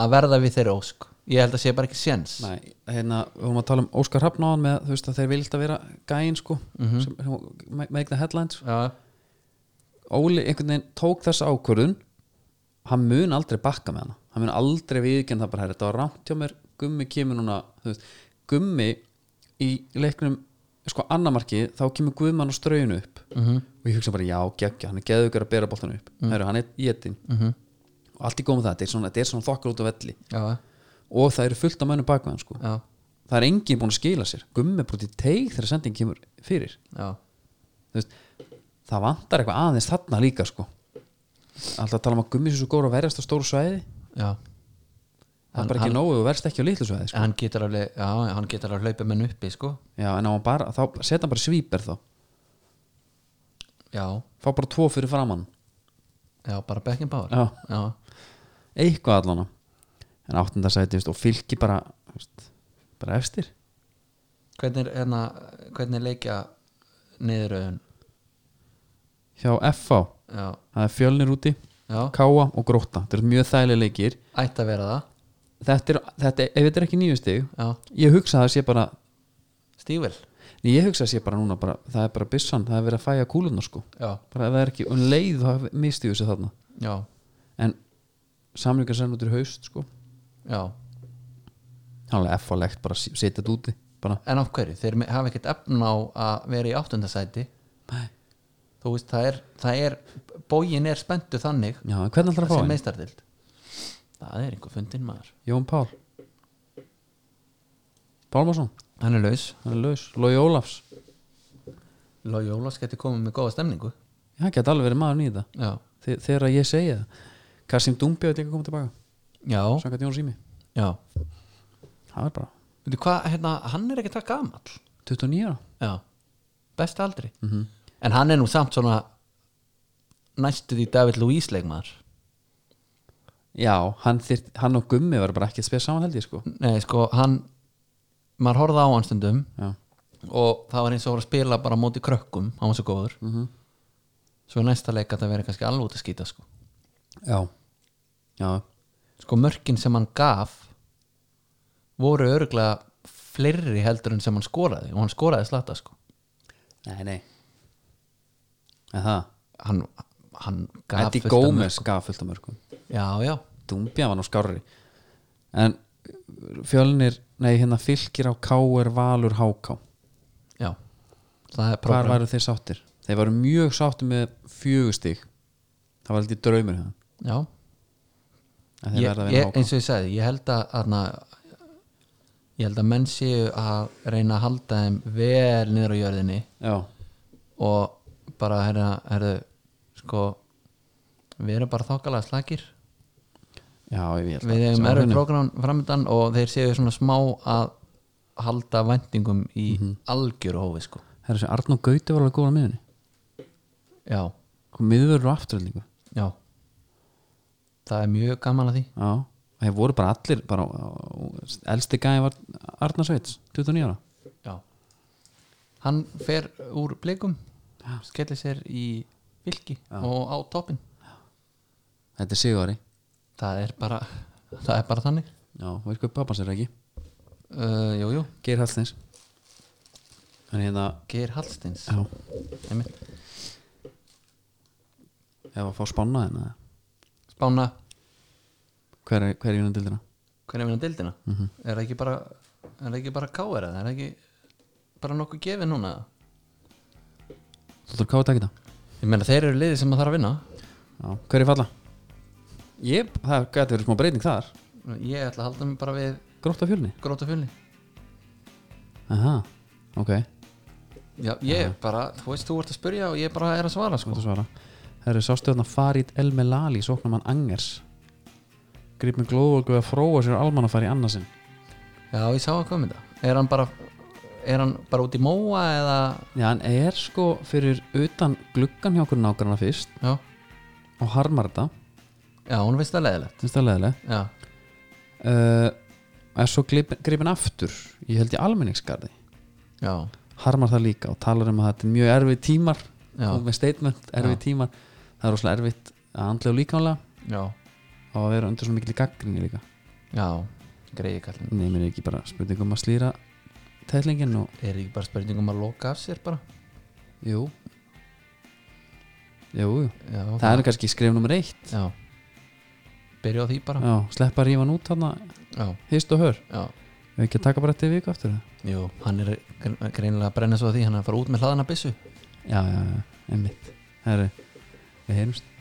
að verða við þeirra ósk ég held að sé bara ekki séns Nei, hérna, við vorum að tala um Óskar Hrafnáðan með, þú veist, að þeir vilt að vera gæin, sko, sem, sem, make- make the headlines já, Óli einhvern veginn tók þessa ákvörðun hann mun aldrei bakka með hana hann mun aldrei viðkjönda það bara herri, þetta var rámt hjá mér, gummi kemur núna þú veist, gummi í leiknum sko annamarki, þá kemur guðmann og strauðinu upp -hmm. og ég hugsa bara, já, geggja, hann er geðugur að bera boltan upp mm. herri, hann er jétin -hmm. og allt í góð með það, þetta er svona, þetta er svona þokkar út á velli já, og það eru fullt af mönnum bak við hann sko já, það er enginn búin að skila sér gummi er brútið í teig þegar sending kemur fyrir já, Þú veist, það vantar eitthvað aðeins þarna líka sko alltaf að tala um að gummi sem svo góður að verjast á stóru svæði já. það er bara ekki nógu og verjast ekki á litlu svæði sko. hann getur alveg já, hann getur alveg hlaupa menn uppi sko. já, en á hann bara, þá setja hann bara svíper þá já, fá bara tvo fyrir framann já, bara Beckham Power já, já, eitthvað allan en áttunda sæti þú veist, og fylki bara þú veist, bara efstir hvernig, er, hérna, hvernig leikja niðuröðun hjá FH, já, það er fjölnir úti já, Káa og Gróta, þetta eru mjög þægileg leikir ætti að vera það þetta er, þetta, ef þetta er ekki nýju stig já, ég hugsa að það sé bara stível Nei, ég hugsa að sé bara núna bara, það er bara byssan, það er verið að fæja kúlunar sko já, bara ef það er ekki, um leið þá misti ég þessi þarna já, en samlingar sem út í haust sko já þannig að F-alegt bara s- setja þetta úti bara, En af hverju? Þeir me- hafa ekkert efna á að vera í áttundasæti nei, þú veist, það er, það er bógin er spenntu þannig Já, en hvernig ætlar að fá sem hann? meistardild það er einhver fundin maður Jón Pál Pálmarsson, hann er laus, hann er laus Lói Ólafs, Lói Ólafs getur komið með góða stemningu hann geti alveg verið maður í þetta já, Þe- Þegar að ég segja það Kassim Dúmbjörn líka komið tilbaka já, Sankat Jón Sými, já það er bara Veitu hvað, hérna, hann er ekki það gamall 29 ára já, besta aldri mm -hmm. en hann er nú samt svona næstuð í David Luís leikmaður Já, hann, þyrt, hann og Gummi verður bara ekki að spila saman held ég sko nei, sko, hann maður horfði á hann stundum Já, og það var eins og voru að spila bara á móti krökkum hann var svo góður mm svo í næsta leik að það verið kannski alveg út að skýta sko. já. já sko mörkin sem hann gaf voru öruglega fleiri heldur en sem hann skoraði og hann skoraði slata sko Nei, nei En það, hann, hann gaf Eddie fullt af mörk- Gómez gaf fullt af mörgum já, já, Dumbja var nú skárri En uh, fjölnir, nei hérna fylgir á K.R. Valur Háká já það er Hvar program væru þeir sáttir? Þeir varu mjög sáttir með fjögustig Það var heldur draumur hérna já, að þeir ég, verða að ég, vinna Háká eins og ég sagði ég held að aðna, ég held að menn séu að reyna að halda þeim vel niður á jörðinni Já, og bara herra, herra sko við erum bara þokkalega slakir já, ég held við að- hefum Sá erfið vinnu. program framöndan og þeir séu svona smá að halda vendingum í Mhm. algjöru hófi sko Herra sér, Arnó Gauti var alveg góð á miðunni já, Kom miðurur og afturöldingu já það er mjög gaman að því Já, þeir voru bara allir bara, Elsti gæði var Arnar Sveits 29 ára já. hann fer úr blikum skellir sér í vilki og á toppin Þetta er Sigurari það er bara, það er bara þannig Já, veist hvað pappans er ekki uh, jú, jú, Geir Hallsteins En hérna Geir Hallsteins Já, Einmitt. ef að fá spanna hérna eða? Spána, Hver er, hver er júnum dildina? hvernig vinna dildina Mhm. er það ekki bara er það ekki bara káera, er það ekki bara nokkuð gefið núna eða? Þú þarf káði að taka þetta Ég meina þeir eru liðið sem maður þarf að vinna Já, hver er falla? Jep, það gæti verið smá breyting þar Ég ætla að halda mig bara við Grótt af fjölni gróta fjölni Aha, ok, Já, ég bara, þú veist, þú ert að spyrja og ég bara er að svara þú sko ert að svara Það eru sástu þarna Farid Elmelali Sóknar mann Angers Grip með glóðvölgu að fróa sér almann að fara í annarsinn Já, ég sá að koma þetta Er hann bara, er hann bara út í móa eða Já, hann er sko fyrir utan gluggan hjá okkur nákvæmna fyrst Já, og harmar þetta, já, hún veist það leiðilegt finnst það leðileg Já, uh, er svo gripin aftur ég held í almenningsgarði já, harmar það líka og talar um að þetta er mjög erfið tímar já, og með statement erfið Já. tímar það er rosalega erfitt að andlega og líkánlega já, og að vera undir svona mikil gaggrinni líka já Greiði kallin neymir ekki bara spurningum að slýra tætlingin og Er ekki bara spurning um að loka af sér bara jú jú, jú. Já, það er kannski skref nummer eitt Já Byrja á því bara Já, sleppa að rífa hann út þarna Já, hist og hör já Ef ekki að taka bara þetta í viku aftur það Jú, hann er gre- greinilega að brenna svo að því hann er að fara út með hlaðana byssu já, já, já, einmitt Herri, við heyrumst